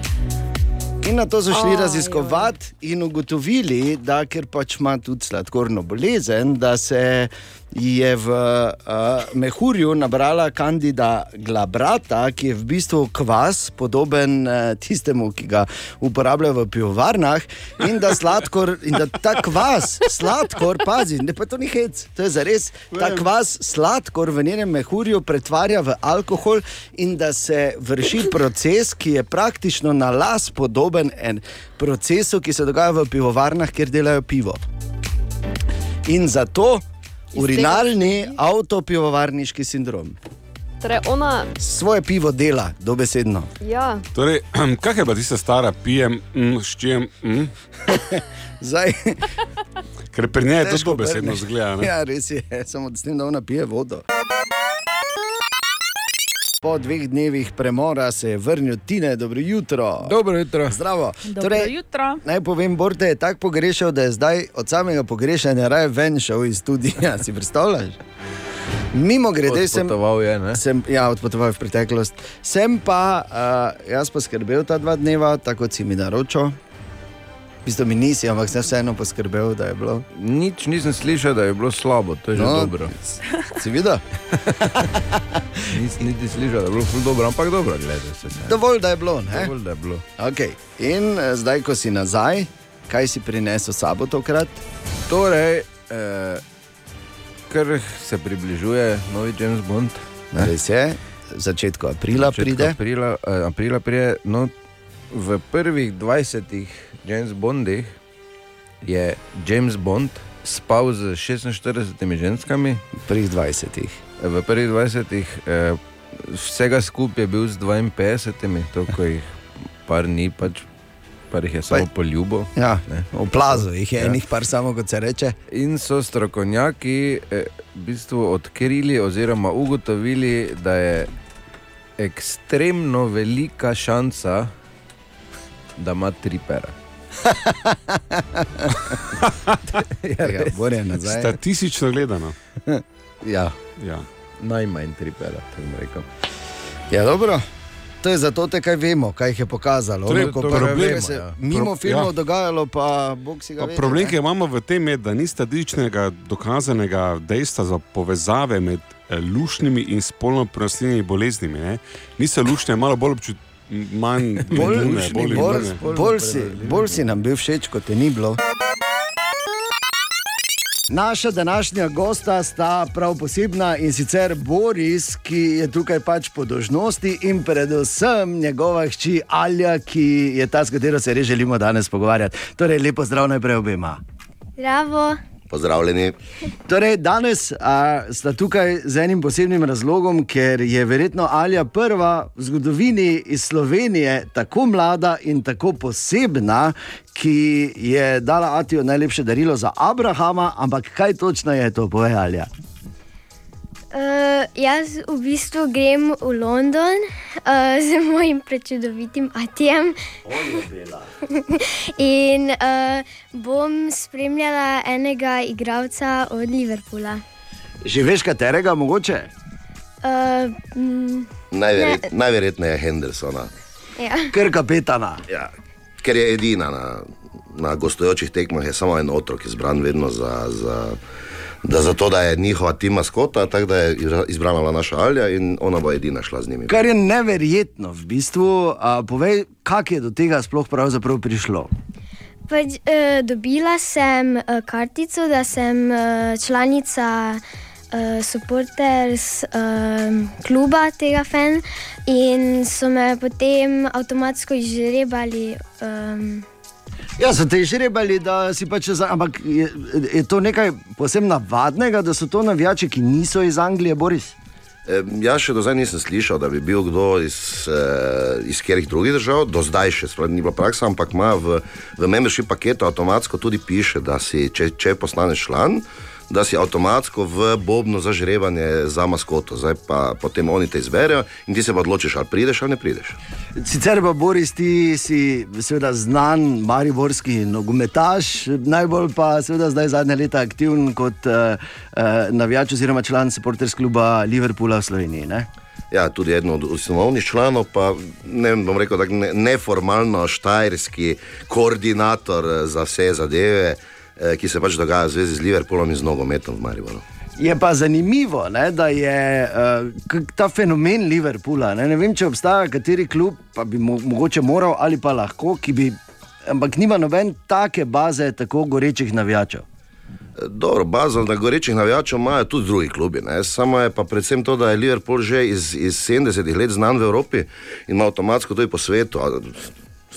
[SPEAKER 3] In na to so šli raziskovati in ugotovili, da ker pač ima tudi sladkorno bolezen, da se ji je v uh, mehurju nabrala kandida glabrata, ki je v bistvu kvas, podoben uh, tistemu, ki ga uporabljajo v pivovarnah, in da sladkor, in da ta kvas, sladkor, pazi, ne pa to ni hec, to je zares, ta kvas, sladkor v njenem mehurju pretvarja v alkohol in da se vrši proces, ki je praktično na las podoben en procesu, ki se dogaja v pivovarnah, kjer delajo pivo. In zato urinalni avtopivovarniški sindrom.
[SPEAKER 5] Torej, ona,
[SPEAKER 3] Svoje pivo dela, dobesedno.
[SPEAKER 5] ja,
[SPEAKER 7] Torej, <clears throat> kaj je pa tista stara, pijem, mm, ščem, mm?
[SPEAKER 3] Zdaj,
[SPEAKER 7] ker pri njej je to
[SPEAKER 3] težko
[SPEAKER 7] zelo besedno
[SPEAKER 3] obrneš.
[SPEAKER 7] zgleda. ne?
[SPEAKER 3] Ja, res je, samo s tem, da ona pije vodo. Po dveh dnevih premora se je vrnil Tine, dobro jutro. Dobro jutro. Zdravo.
[SPEAKER 6] Dobro
[SPEAKER 3] Torej,
[SPEAKER 6] jutro.
[SPEAKER 3] Naj povem, Borte je tako pogrešal, da je zdaj od samega pogrešanja raje ven šel iz studia. <laughs> Si predstavljaš? Mimo grede sem.
[SPEAKER 9] Potoval je, ne?
[SPEAKER 3] Sem, ja, odpotoval je v preteklost. Sem pa uh, jaz poskrbel ta dva dneva, tako kot si mi naročil. V bistvu mi nisi, ampak sem vseeno poskrbel, da je bilo.
[SPEAKER 9] Nič nisem slišal, da je bilo slabo, to je že
[SPEAKER 3] No.
[SPEAKER 9] dobro.
[SPEAKER 3] Si videl?
[SPEAKER 9] Nisem niti slišal, da je bilo ful dobro, ampak dobro, gledaj se. ne.
[SPEAKER 3] Dovolj, da je bilo. Ne?
[SPEAKER 9] Dovolj, da je bilo.
[SPEAKER 3] Okay. In eh, zdaj, ko si nazaj, kaj si prinesel s sabo tokrat?
[SPEAKER 9] Torej, eh, ker se približuje novi James Bond. Ne.
[SPEAKER 3] Res je, v začetku aprila
[SPEAKER 9] Začetka
[SPEAKER 3] pride.
[SPEAKER 9] Aprila, eh, aprila pride no, v prvih 20 James Bondih je James Bond spal z 46 ženskami,
[SPEAKER 3] Pri 20.
[SPEAKER 9] v prvih 20 eh, vsega skupaj je bil z 52, toliko jih par ni, pač, par jih je samo poljubo.
[SPEAKER 3] Ja,
[SPEAKER 9] Ne.
[SPEAKER 3] oplazil jih je,
[SPEAKER 9] Ja.
[SPEAKER 3] ja. enih par samo, kot se reče.
[SPEAKER 9] In so strokovnjaki eh, v bistvu odkrili oziroma ugotovili, da je ekstremno velika šansa, da ima tri pera.
[SPEAKER 10] <laughs>
[SPEAKER 3] Ja, Borje nazaj.
[SPEAKER 7] Statistično gledano.
[SPEAKER 9] Ja,
[SPEAKER 7] Ja.
[SPEAKER 9] najmanj tri pera, tako bom rekel.
[SPEAKER 3] Ja, dobro. To je zato, te kaj vemo, kaj jih je pokazalo.
[SPEAKER 7] Torej,
[SPEAKER 3] Ono, ko
[SPEAKER 9] torej
[SPEAKER 3] problem,
[SPEAKER 9] vemo,
[SPEAKER 3] se
[SPEAKER 9] ja.
[SPEAKER 3] mimo
[SPEAKER 7] Pro-
[SPEAKER 3] filmov
[SPEAKER 7] ja.
[SPEAKER 3] ja. dogajalo, pa bog si ga.
[SPEAKER 7] Pa
[SPEAKER 3] vedi,
[SPEAKER 7] Problem,
[SPEAKER 3] ne.
[SPEAKER 7] ki ga imamo v tem, je, da ni statističnega dokazanega dejstva za povezave med eh, lušnjimi in spolno prenosljivimi boleznimi. Ne? Niso lušnje malo bolj občutne, manj
[SPEAKER 3] Bolj,
[SPEAKER 7] gnilne,
[SPEAKER 3] lušni,
[SPEAKER 7] bolj
[SPEAKER 3] bolj,
[SPEAKER 7] gnilne.
[SPEAKER 3] bolj, bolj, si, bolj si nam bil všeč, kot te ni bilo. Naša današnja gosta sta prav posebna in sicer Boris, ki je tukaj pač po dožnosti, in predvsem njegova hči Alja, ki je ta, s katero se res želimo danes pogovarjati. Torej, lepo zdrav najprej obema.
[SPEAKER 10] Zdravo, Pozdravljeni.
[SPEAKER 3] Torej, danes a, sta tukaj z enim posebnim razlogom, ker je verjetno Alja prva v zgodovini iz Slovenije tako mlada in tako posebna, ki je dala Atijo najlepše darilo za Abrahama, ampak kaj točno je to, poje Alja?
[SPEAKER 11] Uh, jaz v bistvu grem v London uh, z <laughs> mojim prečudovitim atijem. <laughs> In uh, bom spremljala enega igralca od Liverpoola.
[SPEAKER 3] Že veš, katerega mogoče?
[SPEAKER 11] Uh, mm,
[SPEAKER 10] Najverjet,
[SPEAKER 11] Ne.
[SPEAKER 10] najverjetneje Hendersona,
[SPEAKER 11] ja.
[SPEAKER 3] Ker kapetana.
[SPEAKER 10] ja. ker je edina na, na gostujočih tekmah, je samo en otrok izbran vedno za, za, da, za to, da je njihova tim maskota, tako da je izra- izbrana bila naša Alja in ona bo edina šla z njimi.
[SPEAKER 3] Kar je neverjetno, v bistvu. A, povej, kako je do tega sploh pravzaprav prišlo?
[SPEAKER 11] pač, uh, dobila sem uh, kartico, da sem uh, članica uh, supporters um, kluba tega fan in so me potem avtomatsko izžrebali. Um,
[SPEAKER 3] Ja, so te že rebali, da si pač za. Ampak je, je to nekaj posebno navadnega, da so to navijači, ki niso iz Anglije, Boris.
[SPEAKER 10] E, Jaz še do zdaj nisem slišal, da bi bil kdo iz, eh, iz katerih drugih držav, do zdaj še sploh ni bila praksa, ampak ima v, v membership paketu avtomatsko tudi piše, da si, če, če postaneš član, da si avtomatsko v bobno za žrebanje za maskoto. Zdaj pa potem oni te izberejo in ti se pa odločiš, ali prideš ali ne prideš.
[SPEAKER 3] Sicer pa Boris, ti si seveda znan, mariborski nogometaš, najbolj pa seveda zdaj zadnje leta aktiven kot uh, uh, navijač oziroma član supporters kluba Liverpoola v Sloveniji. Ne?
[SPEAKER 10] Ja, tudi eden od ustanovnih članov, pa ne vem, bom rekel tako ne, neformalno štajerski koordinator eh, za vse zadeve, eh, ki se pač dogajajo v zvezi z Liverpoolom in z nogometom v Mariboru.
[SPEAKER 3] Je pa zanimivo, ne, da je uh, k- ta fenomen Liverpoola. Ne, ne vem, če obstaja kateri klub, pa bi mo mogoče moral ali pa lahko, ki bi, ampak nima noben take baze tako gorečih navijačev.
[SPEAKER 10] Dobro, bazo na gorečih navijačev imajo tudi drugi klubi. Ne? Samo je pa predvsem to, da je Liverpool že iz, iz 70-ih let znan v Evropi in ima avtomatsko tudi po svetu. a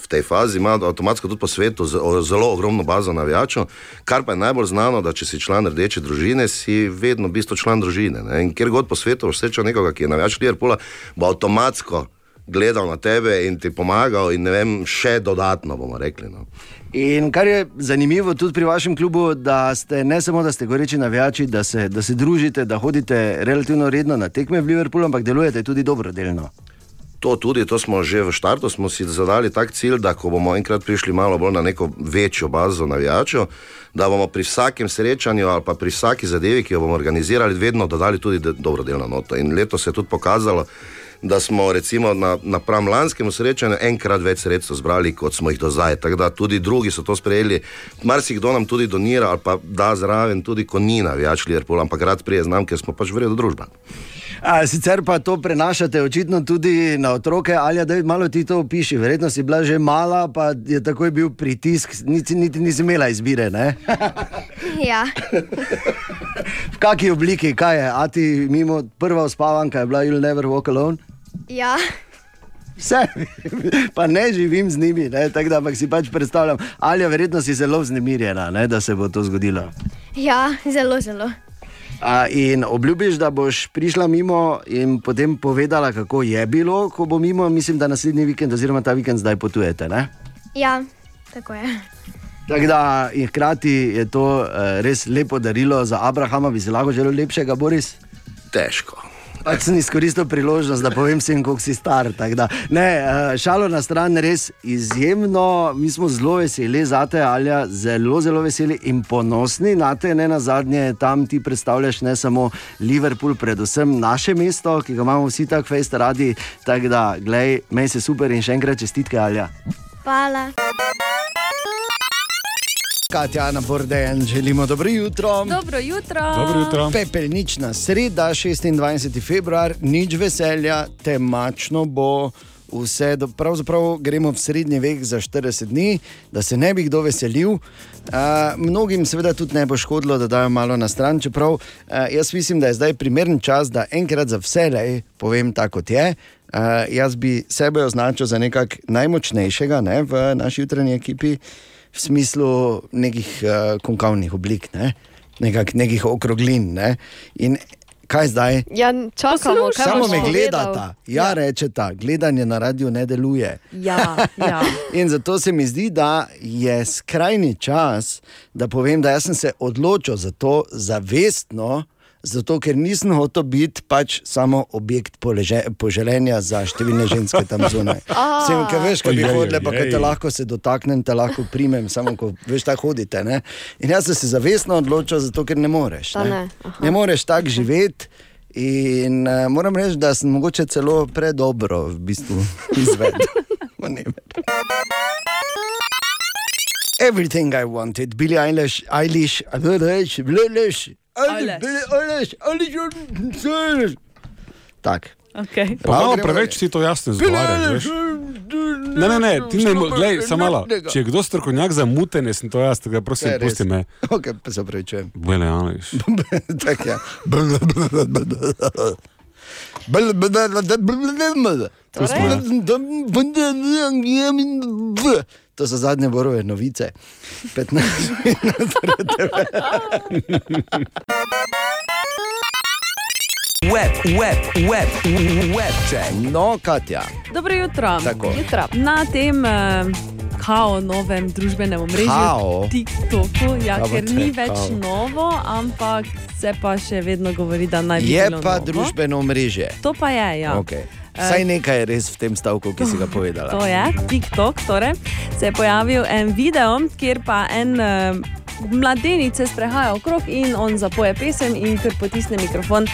[SPEAKER 10] V tej fazi ima avtomatsko tudi po svetu z- o- zelo ogromno bazo navijačev, kar pa je najbolj znano, da če si član rdeče družine, si vedno v bistvu član družine. Ne? In kjer god po svetu boš srečal nekoga, ki je navijač Liverpoola, bo avtomatsko gledal na tebe in ti pomagal in ne vem, še dodatno bomo rekli. No.
[SPEAKER 3] In kar je zanimivo tudi pri vašem klubu, da ste ne samo, da ste goreči navijači, da se, da se družite, da hodite relativno redno na tekme v Liverpoolu, ampak delujete tudi dobrodelno.
[SPEAKER 10] To tudi, to smo že v štartu, smo si zadali tak cilj, da ko bomo enkrat prišli malo bolj na neko večjo bazo navijačev, da bomo pri vsakem srečanju ali pa pri vsaki zadevi, ki jo bomo organizirali, vedno dodali tudi de- dobrodelno noto. In leto se je tudi pokazalo, da smo recimo na, na pram lanskemu srečanju enkrat več sredstev zbrali, kot smo jih do zdaj. Tako da tudi drugi so to sprejeli. Marsikdo nam tudi donira ali pa da zraven tudi, ko ni navijač Liverpool, ampak rad prije znam, ker smo pač vredno družba.
[SPEAKER 3] A, sicer pa to prenašate očitno tudi na otroke, ali da malo ti to opiši. Verjetno si bila že mala, pa je takoj bil pritisk, niti, niti nisi imela izbire. ne?
[SPEAKER 11] <laughs>
[SPEAKER 3] <laughs>
[SPEAKER 11] ja.
[SPEAKER 3] v kaki obliki, kaj je, a ti mimo prva uspavanka je bila You'll Never Walk Alone.
[SPEAKER 11] ja.
[SPEAKER 3] Vse, <laughs> pa ne živim z njimi, ne, tako da ampak si pač predstavljam. Ali je verjetno si zelo vznemirjena, ne, da se bo to zgodilo.
[SPEAKER 11] Ja, zelo, zelo.
[SPEAKER 3] A, in obljubiš, da boš prišla mimo in potem povedala, kako je bilo, ko bo mimo, mislim, da naslednji vikend, oziroma ta vikend zdaj potujete. Ne?
[SPEAKER 11] Ja, tako je.
[SPEAKER 3] Tako da, in hkrati je to eh, res lepo darilo za Abrahama, bi si lahko želel lepšega, Boris.
[SPEAKER 10] Težko.
[SPEAKER 3] Pač sem izkoristil priložnost, da povem vsem, koliko si star. tako da. Ne, eh, šalo na stran, res izjemno, mi smo zelo veseli za te, Alja, zelo, zelo veseli in ponosni na te, ne na zadnje, tam ti predstavljaš ne samo Liverpool, predvsem naše mesto, ki ga imamo vsi tako fejst radi. Tako da, glej, meni se super in še enkrat čestitke, Alja.
[SPEAKER 11] Hvala.
[SPEAKER 3] Katja, na Borden, želimo dobro jutro.
[SPEAKER 6] Dobro jutro.
[SPEAKER 7] Dobro jutro.
[SPEAKER 3] Pepelnična sreda, 26. februar, nič veselja, temačno bo. Vse, do, pravzaprav gremo v srednji vek za 40 dni, da se ne bi kdo veselil. Uh, mnogim, seveda, tudi ne bo škodilo, da dajo malo na stran, čeprav uh, jaz mislim, da je zdaj primeren čas, da enkrat za vselej povem tako, kot je. Uh, jaz bi sebe označil za nekak najmočnejšega ne, v naši jutranji ekipi, v smislu nekih uh, konkavnih oblik. Ne. nekak, nekih okroglin. Ne? In kaj zdaj?
[SPEAKER 12] Ja, čakamo, kaj
[SPEAKER 3] Samo
[SPEAKER 12] boš
[SPEAKER 3] me
[SPEAKER 12] povedal?
[SPEAKER 3] gledata, ja, ja. rečeta, gledanje na radiju ne deluje.
[SPEAKER 6] Ja, ja.
[SPEAKER 3] <laughs> In zato se mi zdi, da je skrajni čas, da povem, da jaz sem se odločil za to zavestno. Zato, ker nisem hotel biti pač samo objekt poleže, poželenja za številne ženske tam zunaj.
[SPEAKER 13] A.
[SPEAKER 3] Sem, ker veš, kaj bi
[SPEAKER 13] Ojej,
[SPEAKER 3] hodile, pa kaj te
[SPEAKER 13] ojej.
[SPEAKER 3] lahko se dotaknem, te lahko primem, samo ko veš, tako hodite. Ne? In jaz sem se zavestno odločil, zato ker ne moreš.
[SPEAKER 12] Da ne,
[SPEAKER 3] Ne, ne moreš tako živeti. In uh, moram reči, da sem mogoče celo predobro v bistvu izvedel. Ma ne vem. Everything I wanted, Billy Eilish, Eilish, Eilish, Eilish, Eilish, Eilish, Eilish, Eilish. Tak.
[SPEAKER 2] Okay.
[SPEAKER 7] Pa malo preveč si to jasno izgovarjaš. veš. Ne, ne, ne, ti ne moreš, glej, samo malo. Če je kdo strokovnjak za mutenje, sem to jaz, tako da prosim,
[SPEAKER 3] Ne, res.
[SPEAKER 7] pusti
[SPEAKER 3] <laughs>
[SPEAKER 7] me.
[SPEAKER 3] Ok, pa se pravičujem.
[SPEAKER 7] Bele, Aleš.
[SPEAKER 3] Tako je. To so zadnje borove novice. 15 <laughs> minut. pred devet.
[SPEAKER 1] Web, web, web, web check.
[SPEAKER 3] No, Katja.
[SPEAKER 6] <laughs> Dobro jutro.
[SPEAKER 3] Tako.
[SPEAKER 6] jutro. Na tem eh, kao novem družbenem
[SPEAKER 3] Kao?
[SPEAKER 6] omrežju, TikToku, ja,
[SPEAKER 3] Kaj bo
[SPEAKER 6] ker
[SPEAKER 3] te
[SPEAKER 6] ni več
[SPEAKER 3] kao?
[SPEAKER 6] novo, ampak se pa še vedno govori, da naj bi
[SPEAKER 3] Je
[SPEAKER 6] bilo
[SPEAKER 3] pa
[SPEAKER 6] novo.
[SPEAKER 3] družbeno mreže.
[SPEAKER 6] To pa je, ja.
[SPEAKER 3] Okay. Saj nekaj je res v tem stavku, ki si ga povedala.
[SPEAKER 6] To je TikTok, torej se je pojavil en video, kjer pa en eh, mladenič se sprehaja okrog in on zapoje pesem in ker potisne mikrofon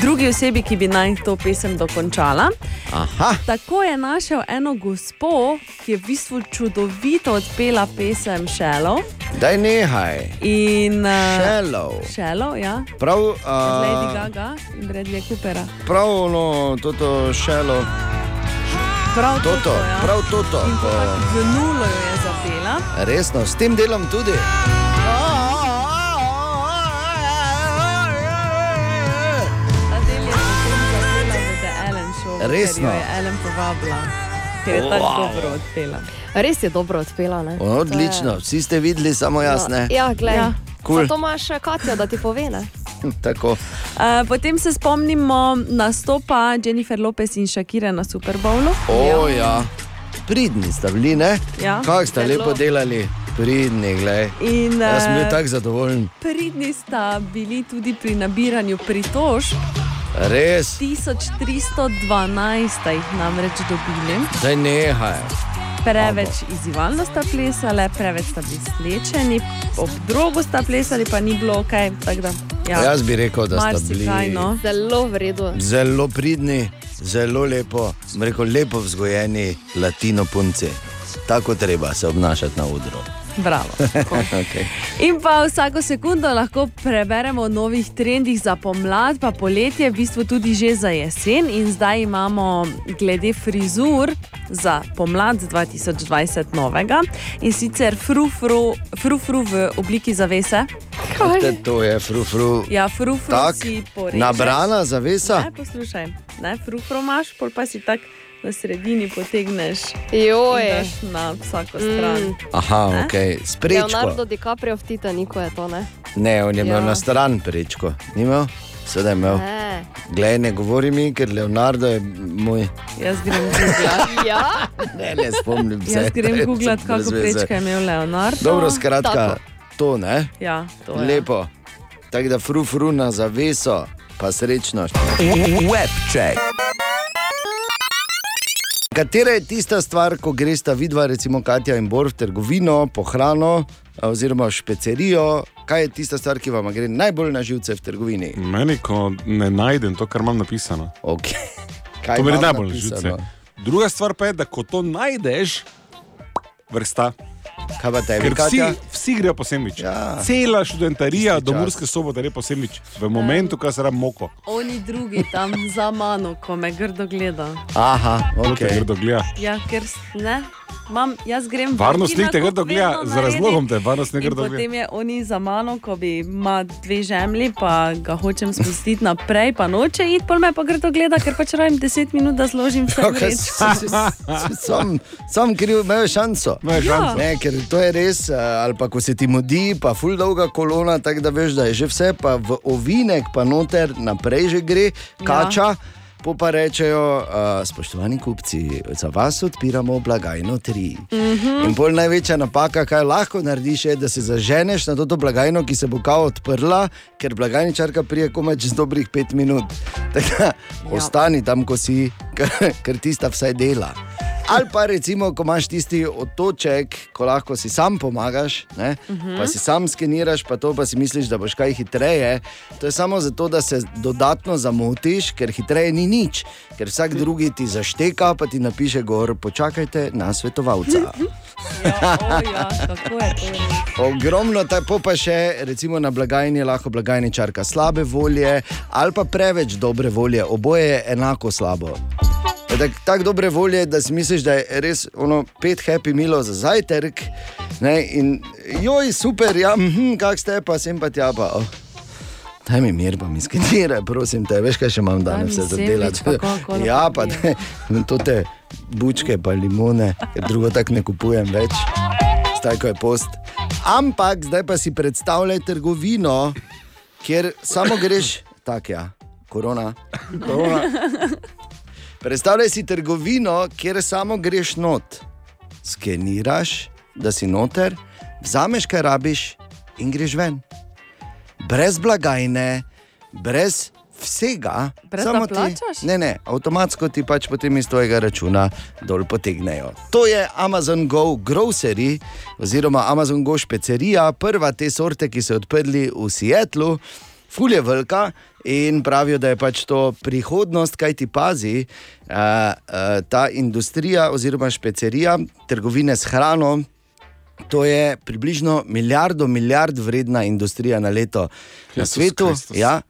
[SPEAKER 6] drugi osebi, ki bi naj to pesem dokončala.
[SPEAKER 3] Aha.
[SPEAKER 6] Tako je našel eno gospo, ki je v bistvu čudovito odpela pesem Shallow.
[SPEAKER 3] Daj nehaj.
[SPEAKER 6] In, eh,
[SPEAKER 3] Shallow.
[SPEAKER 6] Shallow, ja.
[SPEAKER 3] Prav, uh,
[SPEAKER 6] Od Lady Gaga in Bradley Coopera.
[SPEAKER 3] prav ono, toto šelo.
[SPEAKER 6] Prav
[SPEAKER 3] toto, toto ja. prav toto. ko-
[SPEAKER 6] V nulo jo je zapela.
[SPEAKER 3] Resno, s tem delom tudi.
[SPEAKER 6] Adel je potem zapela v The Ellen Show,
[SPEAKER 3] Resno?
[SPEAKER 6] ker jo je Ellen povabila, ker je tako
[SPEAKER 3] Wow.
[SPEAKER 6] dobro odpela.
[SPEAKER 12] Res je dobro odpela. Ne?
[SPEAKER 3] Odlično, vsi ste videli, samo jaz
[SPEAKER 12] To je-
[SPEAKER 3] ne.
[SPEAKER 12] Ja, gledaj. Ja.
[SPEAKER 3] Kul.
[SPEAKER 12] To imaš Katja, da ti pove. Ne?
[SPEAKER 3] <laughs> Tako.
[SPEAKER 6] Eh, Potem se spomnimo nastopa Jennifer Lopez in Shakira na Super Bowlu.
[SPEAKER 3] O, ja. Pridni ste bili, ne?
[SPEAKER 6] Ja.
[SPEAKER 3] Kako ste
[SPEAKER 6] Zelo.
[SPEAKER 3] lepo delali, pridni, glej.
[SPEAKER 6] In,
[SPEAKER 3] Jaz sem
[SPEAKER 6] eh,
[SPEAKER 3] bil tako zadovoljen.
[SPEAKER 6] Pridni sta bili tudi pri nabiranju pritožb.
[SPEAKER 3] Res,
[SPEAKER 6] 1312 sta jih namreč dobili.
[SPEAKER 3] zdaj nehaj.
[SPEAKER 6] Preveč izzivalno sta plesali, preveč sta bili slečeni, ob drogu sta plesali, pa ni bilo kaj.
[SPEAKER 3] Ja.
[SPEAKER 6] Ja.
[SPEAKER 3] Jaz bi rekel, da ste bili
[SPEAKER 6] Marsikaj, no.
[SPEAKER 12] Zelo v redu.
[SPEAKER 3] zelo pridni, zelo lepo, bom rekel, lepo vzgojeni latino punci. Tako treba se obnašati na odru.
[SPEAKER 6] Bravo.
[SPEAKER 3] okay.
[SPEAKER 6] In pa vsako sekundo lahko preberemo o novih trendih za pomlad, pa poletje, v bistvu tudi že za jesen. In zdaj imamo glede frizur za pomlad 2020 novega in sicer frufru, frufru v obliki zavese.
[SPEAKER 3] Te, to je frufru.
[SPEAKER 6] Ja, frufru
[SPEAKER 3] Tak,
[SPEAKER 6] si Ja. porežeš.
[SPEAKER 3] Nabrana zavesa.
[SPEAKER 6] Ne, poslušaj, ne, frufru imaš, pol pa si tak na sredini potegneš.
[SPEAKER 12] Joj.
[SPEAKER 6] in daš Na vsako stran.
[SPEAKER 12] Mm.
[SPEAKER 3] Aha,
[SPEAKER 12] Ne?
[SPEAKER 3] ok,
[SPEAKER 12] Leonardo
[SPEAKER 3] sprečko.
[SPEAKER 12] DiCaprio v Titaniku je to. Ne?
[SPEAKER 3] Ne, on je imel
[SPEAKER 12] Ja.
[SPEAKER 3] na stran prečko, ni imel, sedaj je imel.
[SPEAKER 6] Ja.
[SPEAKER 12] Ne.
[SPEAKER 3] Glej, ne govori mi, ker Leonardo je moj.
[SPEAKER 6] Jaz grem googlat.
[SPEAKER 12] ja?
[SPEAKER 3] Ne, ne spomnim se.
[SPEAKER 6] Jaz
[SPEAKER 3] <laughs>
[SPEAKER 6] grem googlat,
[SPEAKER 3] Brez
[SPEAKER 6] kako
[SPEAKER 3] veze.
[SPEAKER 6] prečka je imel Leonardo.
[SPEAKER 3] Dobro, skratka, Tako. to ne.
[SPEAKER 6] Ja, to je.
[SPEAKER 3] Lepo. Tako da frufru na zaveso, pa srečno. E,
[SPEAKER 1] Web check.
[SPEAKER 3] Katera je tista stvar, ko greš ta vidva, recimo Katja in Bor v trgovino, po hrano, a, oziroma v špecerijo, kaj je tista stvar, ki vam gre najbolj na živce v trgovini?
[SPEAKER 7] <laughs> Meni, ko ne najdem to, kar imam napisano.
[SPEAKER 3] Okay. Kaj
[SPEAKER 7] To mi je
[SPEAKER 3] imam
[SPEAKER 7] najbolj
[SPEAKER 3] napisano?
[SPEAKER 7] živce. Druga stvar pa je, da ko to najdeš, vrsta.
[SPEAKER 3] Kaj pa tebi,
[SPEAKER 7] Ker vsi,
[SPEAKER 3] Katja?
[SPEAKER 7] vsi grejo po semvič.
[SPEAKER 3] Ja.
[SPEAKER 7] Cela študentarija
[SPEAKER 3] Isti
[SPEAKER 7] do
[SPEAKER 3] čas.
[SPEAKER 7] Murske sobote gre po semvič. V momentu, ko se ram moko.
[SPEAKER 6] Oni drugi tam za mano, ko me grdo gleda.
[SPEAKER 3] Aha,
[SPEAKER 7] ok. Grdo gleda.
[SPEAKER 6] Ja, ker s- ne, mam, jaz grem
[SPEAKER 7] Varnostnik te
[SPEAKER 6] tega
[SPEAKER 7] grdo gleda, z razlogom te varnostnik grdo gleda.
[SPEAKER 6] Potem je oni za mano, ko bi ima dve žemlji, pa ga hočem spustiti naprej, pa noče iti, pol me pa grdo gleda, ker pač rabim 10 minut,
[SPEAKER 7] <laughs>
[SPEAKER 6] da zložim vse.
[SPEAKER 3] <laughs> Sam, sam kriv, imajo šanso.
[SPEAKER 6] Imajo šanso.
[SPEAKER 3] Ne, ker ker to je res, eh, ali pa ko se ti mudi, pa ful dolga kolona, tako da veš, da je že vse, pa v ovinek, pa noter naprej že gre, kača. Po pa rečejo, uh, spoštovani kupci, za vas odpiramo blagajno 3.
[SPEAKER 13] Mhm.
[SPEAKER 3] In bolj največja napaka, kaj lahko narediš, je, da se zaženeš na to, to blagajno, ki se bo kao odprla, ker blagajničarka prije komaj čez dobrih 5 minut. <laughs> Tako da, ostani tam, ko si, <laughs> ker, ker tista vsaj dela. Ali pa recimo, ko imaš tisti otoček, ko lahko si sam pomagaš, ne,
[SPEAKER 13] Mhm.
[SPEAKER 3] pa si sam skeniraš, pa to pa si misliš, da boš kaj hitreje. To je samo zato, da se dodatno zamotiš, ker hitreje ni nič, ker vsak drugi ti zašteka, pa ti napiše gor, počakajte na svetovalca.
[SPEAKER 6] ja, Kako je to?
[SPEAKER 3] Ogromno, tako pa še recimo na blagajni je lahko blagajničarka slabe volje ali pa preveč dobre volje, oboje je enako slabo. Je Tak, tak dobre volje, da si misliš, da je res ono pet happy milo za zajtrk. Ne, in joj, super, ja, hm, kak ste pa, sem pa tja pa. Oh. Daj mi mir, pa mi skidire, prosim te, veš, kaj še imam danes
[SPEAKER 13] mi
[SPEAKER 3] vse za
[SPEAKER 13] sendvič,
[SPEAKER 3] delati.
[SPEAKER 13] pa Coca-Colo
[SPEAKER 3] <laughs> Ja, pa te, to te bučke, pa limone, ker drugo tako ne kupujem več, zdaj ko je post. Ampak zdaj pa si predstavljaj trgovino, kjer samo greš, tako ja, korona. korona. Predstavljaj si trgovino, kjer samo greš not, skeniraš, da si noter, vzameš, kar rabiš in greš ven brez blagajne, brez vsega.
[SPEAKER 6] Brez da
[SPEAKER 3] samo
[SPEAKER 6] plačaš?
[SPEAKER 3] Ti, ne, ne, avtomatsko ti pač potem iz tvojega računa dol potegnejo. To je Amazon Go Grocery oziroma Amazon Go špecerija, prva te sorte, ki so jo odprli v Seattlu. Ful je velika in pravijo, da je pač to prihodnost, kaj ti pazi. Uh, uh, ta industrija, oziroma špecerija, trgovine s hrano, To je približno milijardo, milijard vredna industrija na leto na
[SPEAKER 13] Kristus,
[SPEAKER 3] svetu.
[SPEAKER 13] Kristus.
[SPEAKER 3] Ja,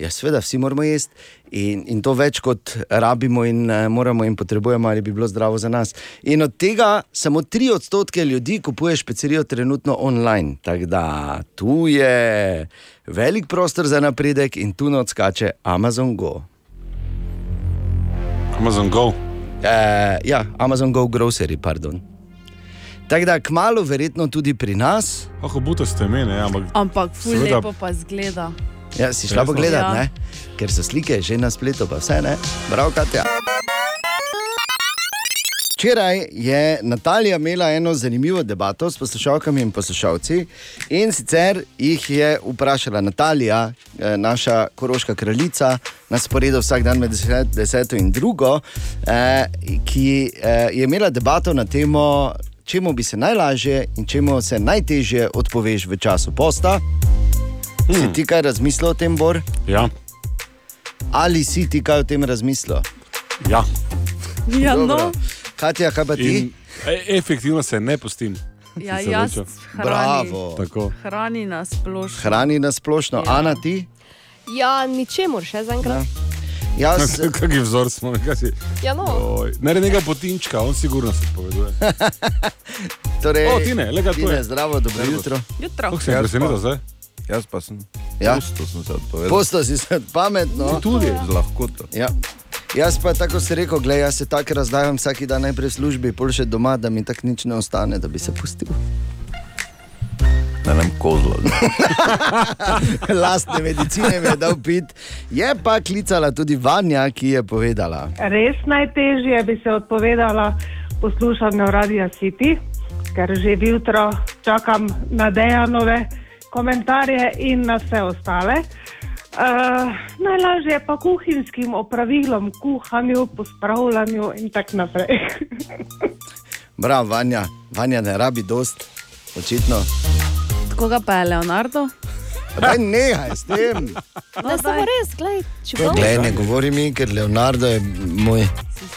[SPEAKER 3] ja, seveda, vsi moramo jesti in, in to več kot rabimo in eh, moramo in potrebujemo, ali bi bilo zdravo za nas. In od tega samo 3 odstotke ljudi kupuje špecerijo trenutno online. Tako da tu je velik prostor za napredek in tu ne odskače Amazon Go.
[SPEAKER 7] Amazon Go.
[SPEAKER 3] Eh, ja, Amazon Go Grocery, pardon. Tako da kmalo, verjetno tudi pri nas.
[SPEAKER 7] Ah, obuta ste imeli, ampak.
[SPEAKER 6] Ampak ful
[SPEAKER 3] Seveda.
[SPEAKER 6] lepo pa zgleda.
[SPEAKER 3] Ja, si šla
[SPEAKER 6] Resno?
[SPEAKER 3] pogledat,
[SPEAKER 6] Ja.
[SPEAKER 3] ja. ker so slike že na spletu, pa vse ne. Prav, Katja. Včeraj je Natalija imela eno zanimivo debato s poslušalkami in poslušalci. In sicer jih je vprašala Natalija, eh, naša koroška kraljica, na sporedu vsak dan med 10 deset, in 2, eh, ki eh, je imela debato na temo, čemu bi se najlažje in čemu se najtežje odpoveš v času posta. Hmm. Si ti kaj razmislil o tem, Bor?
[SPEAKER 7] Ja.
[SPEAKER 3] Ali si ti kaj o tem razmislil?
[SPEAKER 7] Ja.
[SPEAKER 6] Ja, no.
[SPEAKER 3] Dobro. Katja, kaj pa ti?
[SPEAKER 7] In, e, efektivno se ne pustim.
[SPEAKER 6] Ja,
[SPEAKER 7] Sem se
[SPEAKER 6] jaz
[SPEAKER 7] odločil.
[SPEAKER 6] hrani.
[SPEAKER 7] Tako.
[SPEAKER 6] Hrani nas splošno.
[SPEAKER 3] Hrani na splošno, ja. Ana ti?
[SPEAKER 12] Ja, ničemur še zaenkrat.
[SPEAKER 7] <laughs>
[SPEAKER 3] Jaz...
[SPEAKER 7] Kakšen vzor smo, kaj si.
[SPEAKER 12] Ja, no.
[SPEAKER 7] Oj, Ne, enega potinčka, on sigurno se poveduje.
[SPEAKER 3] Torej,
[SPEAKER 7] o, tine, le kako je.
[SPEAKER 3] Tine, zdravo, dobro jutro.
[SPEAKER 6] Jutro.
[SPEAKER 7] Kako se je presenetilo zdaj?
[SPEAKER 9] Jaz pa sem.
[SPEAKER 3] Ja.
[SPEAKER 9] Pusto sem se odpovedal.
[SPEAKER 3] Posto si se pametno.
[SPEAKER 9] Tudi z lahkoto.
[SPEAKER 3] Ja. Jaz pa tako si rekel, gledaj, jaz se tako razdajam vsak dan najprej v službi, pol še doma, da mi tako nič ne ostane, da bi se pustil.
[SPEAKER 9] Ne vem, kozlo.
[SPEAKER 3] <laughs> Lastne medicine mi je dal pit. Je pa klicala tudi Vanja, ki je povedala.
[SPEAKER 14] Res najtežje bi se odpovedala poslušanju Radia City, ker že jutro čakam na dejanove komentarje in na vse ostale. Uh, najlažje je pa kuhinjskim opravilom, kuhanju, pospravljanju in tako naprej. <laughs>
[SPEAKER 3] Bravo, Vanja. Vanja ne rabi dost, očitno.
[SPEAKER 6] Koga pa je Leonardo?
[SPEAKER 3] Daj, nehaj s tem.
[SPEAKER 12] Ne, samo res, gledaj, če bo.
[SPEAKER 3] Glej, ne govori mi, ker Leonardo je moj.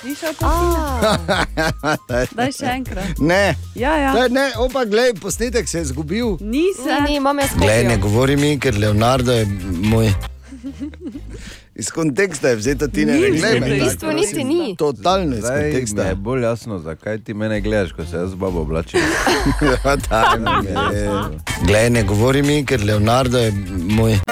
[SPEAKER 6] Slišal to? Ah, Daj še enkrat.
[SPEAKER 3] <laughs> Ne.
[SPEAKER 6] Ja, ja.
[SPEAKER 3] Daj, ne, opa, glej, posnetek se je zgubil.
[SPEAKER 6] Nisem.
[SPEAKER 12] Ni, imam jaz
[SPEAKER 3] Glej, ne
[SPEAKER 12] kopijo.
[SPEAKER 3] govori mi, ker Leonardo je moj. Iz konteksta je vzeto ti ne
[SPEAKER 9] Ni,
[SPEAKER 3] glej.
[SPEAKER 9] v
[SPEAKER 3] me
[SPEAKER 9] bistvu
[SPEAKER 3] tako,
[SPEAKER 9] niti
[SPEAKER 3] prosim.
[SPEAKER 9] ni.
[SPEAKER 3] Totalno iz
[SPEAKER 9] Zdaj mi
[SPEAKER 3] <laughs> konteksta.
[SPEAKER 9] je bolj jasno, zakaj ti mene gledaš, ko se jaz z babo oblačim.
[SPEAKER 3] Daj mi je. Glej, ne govori mi, ker Leonardo je moj.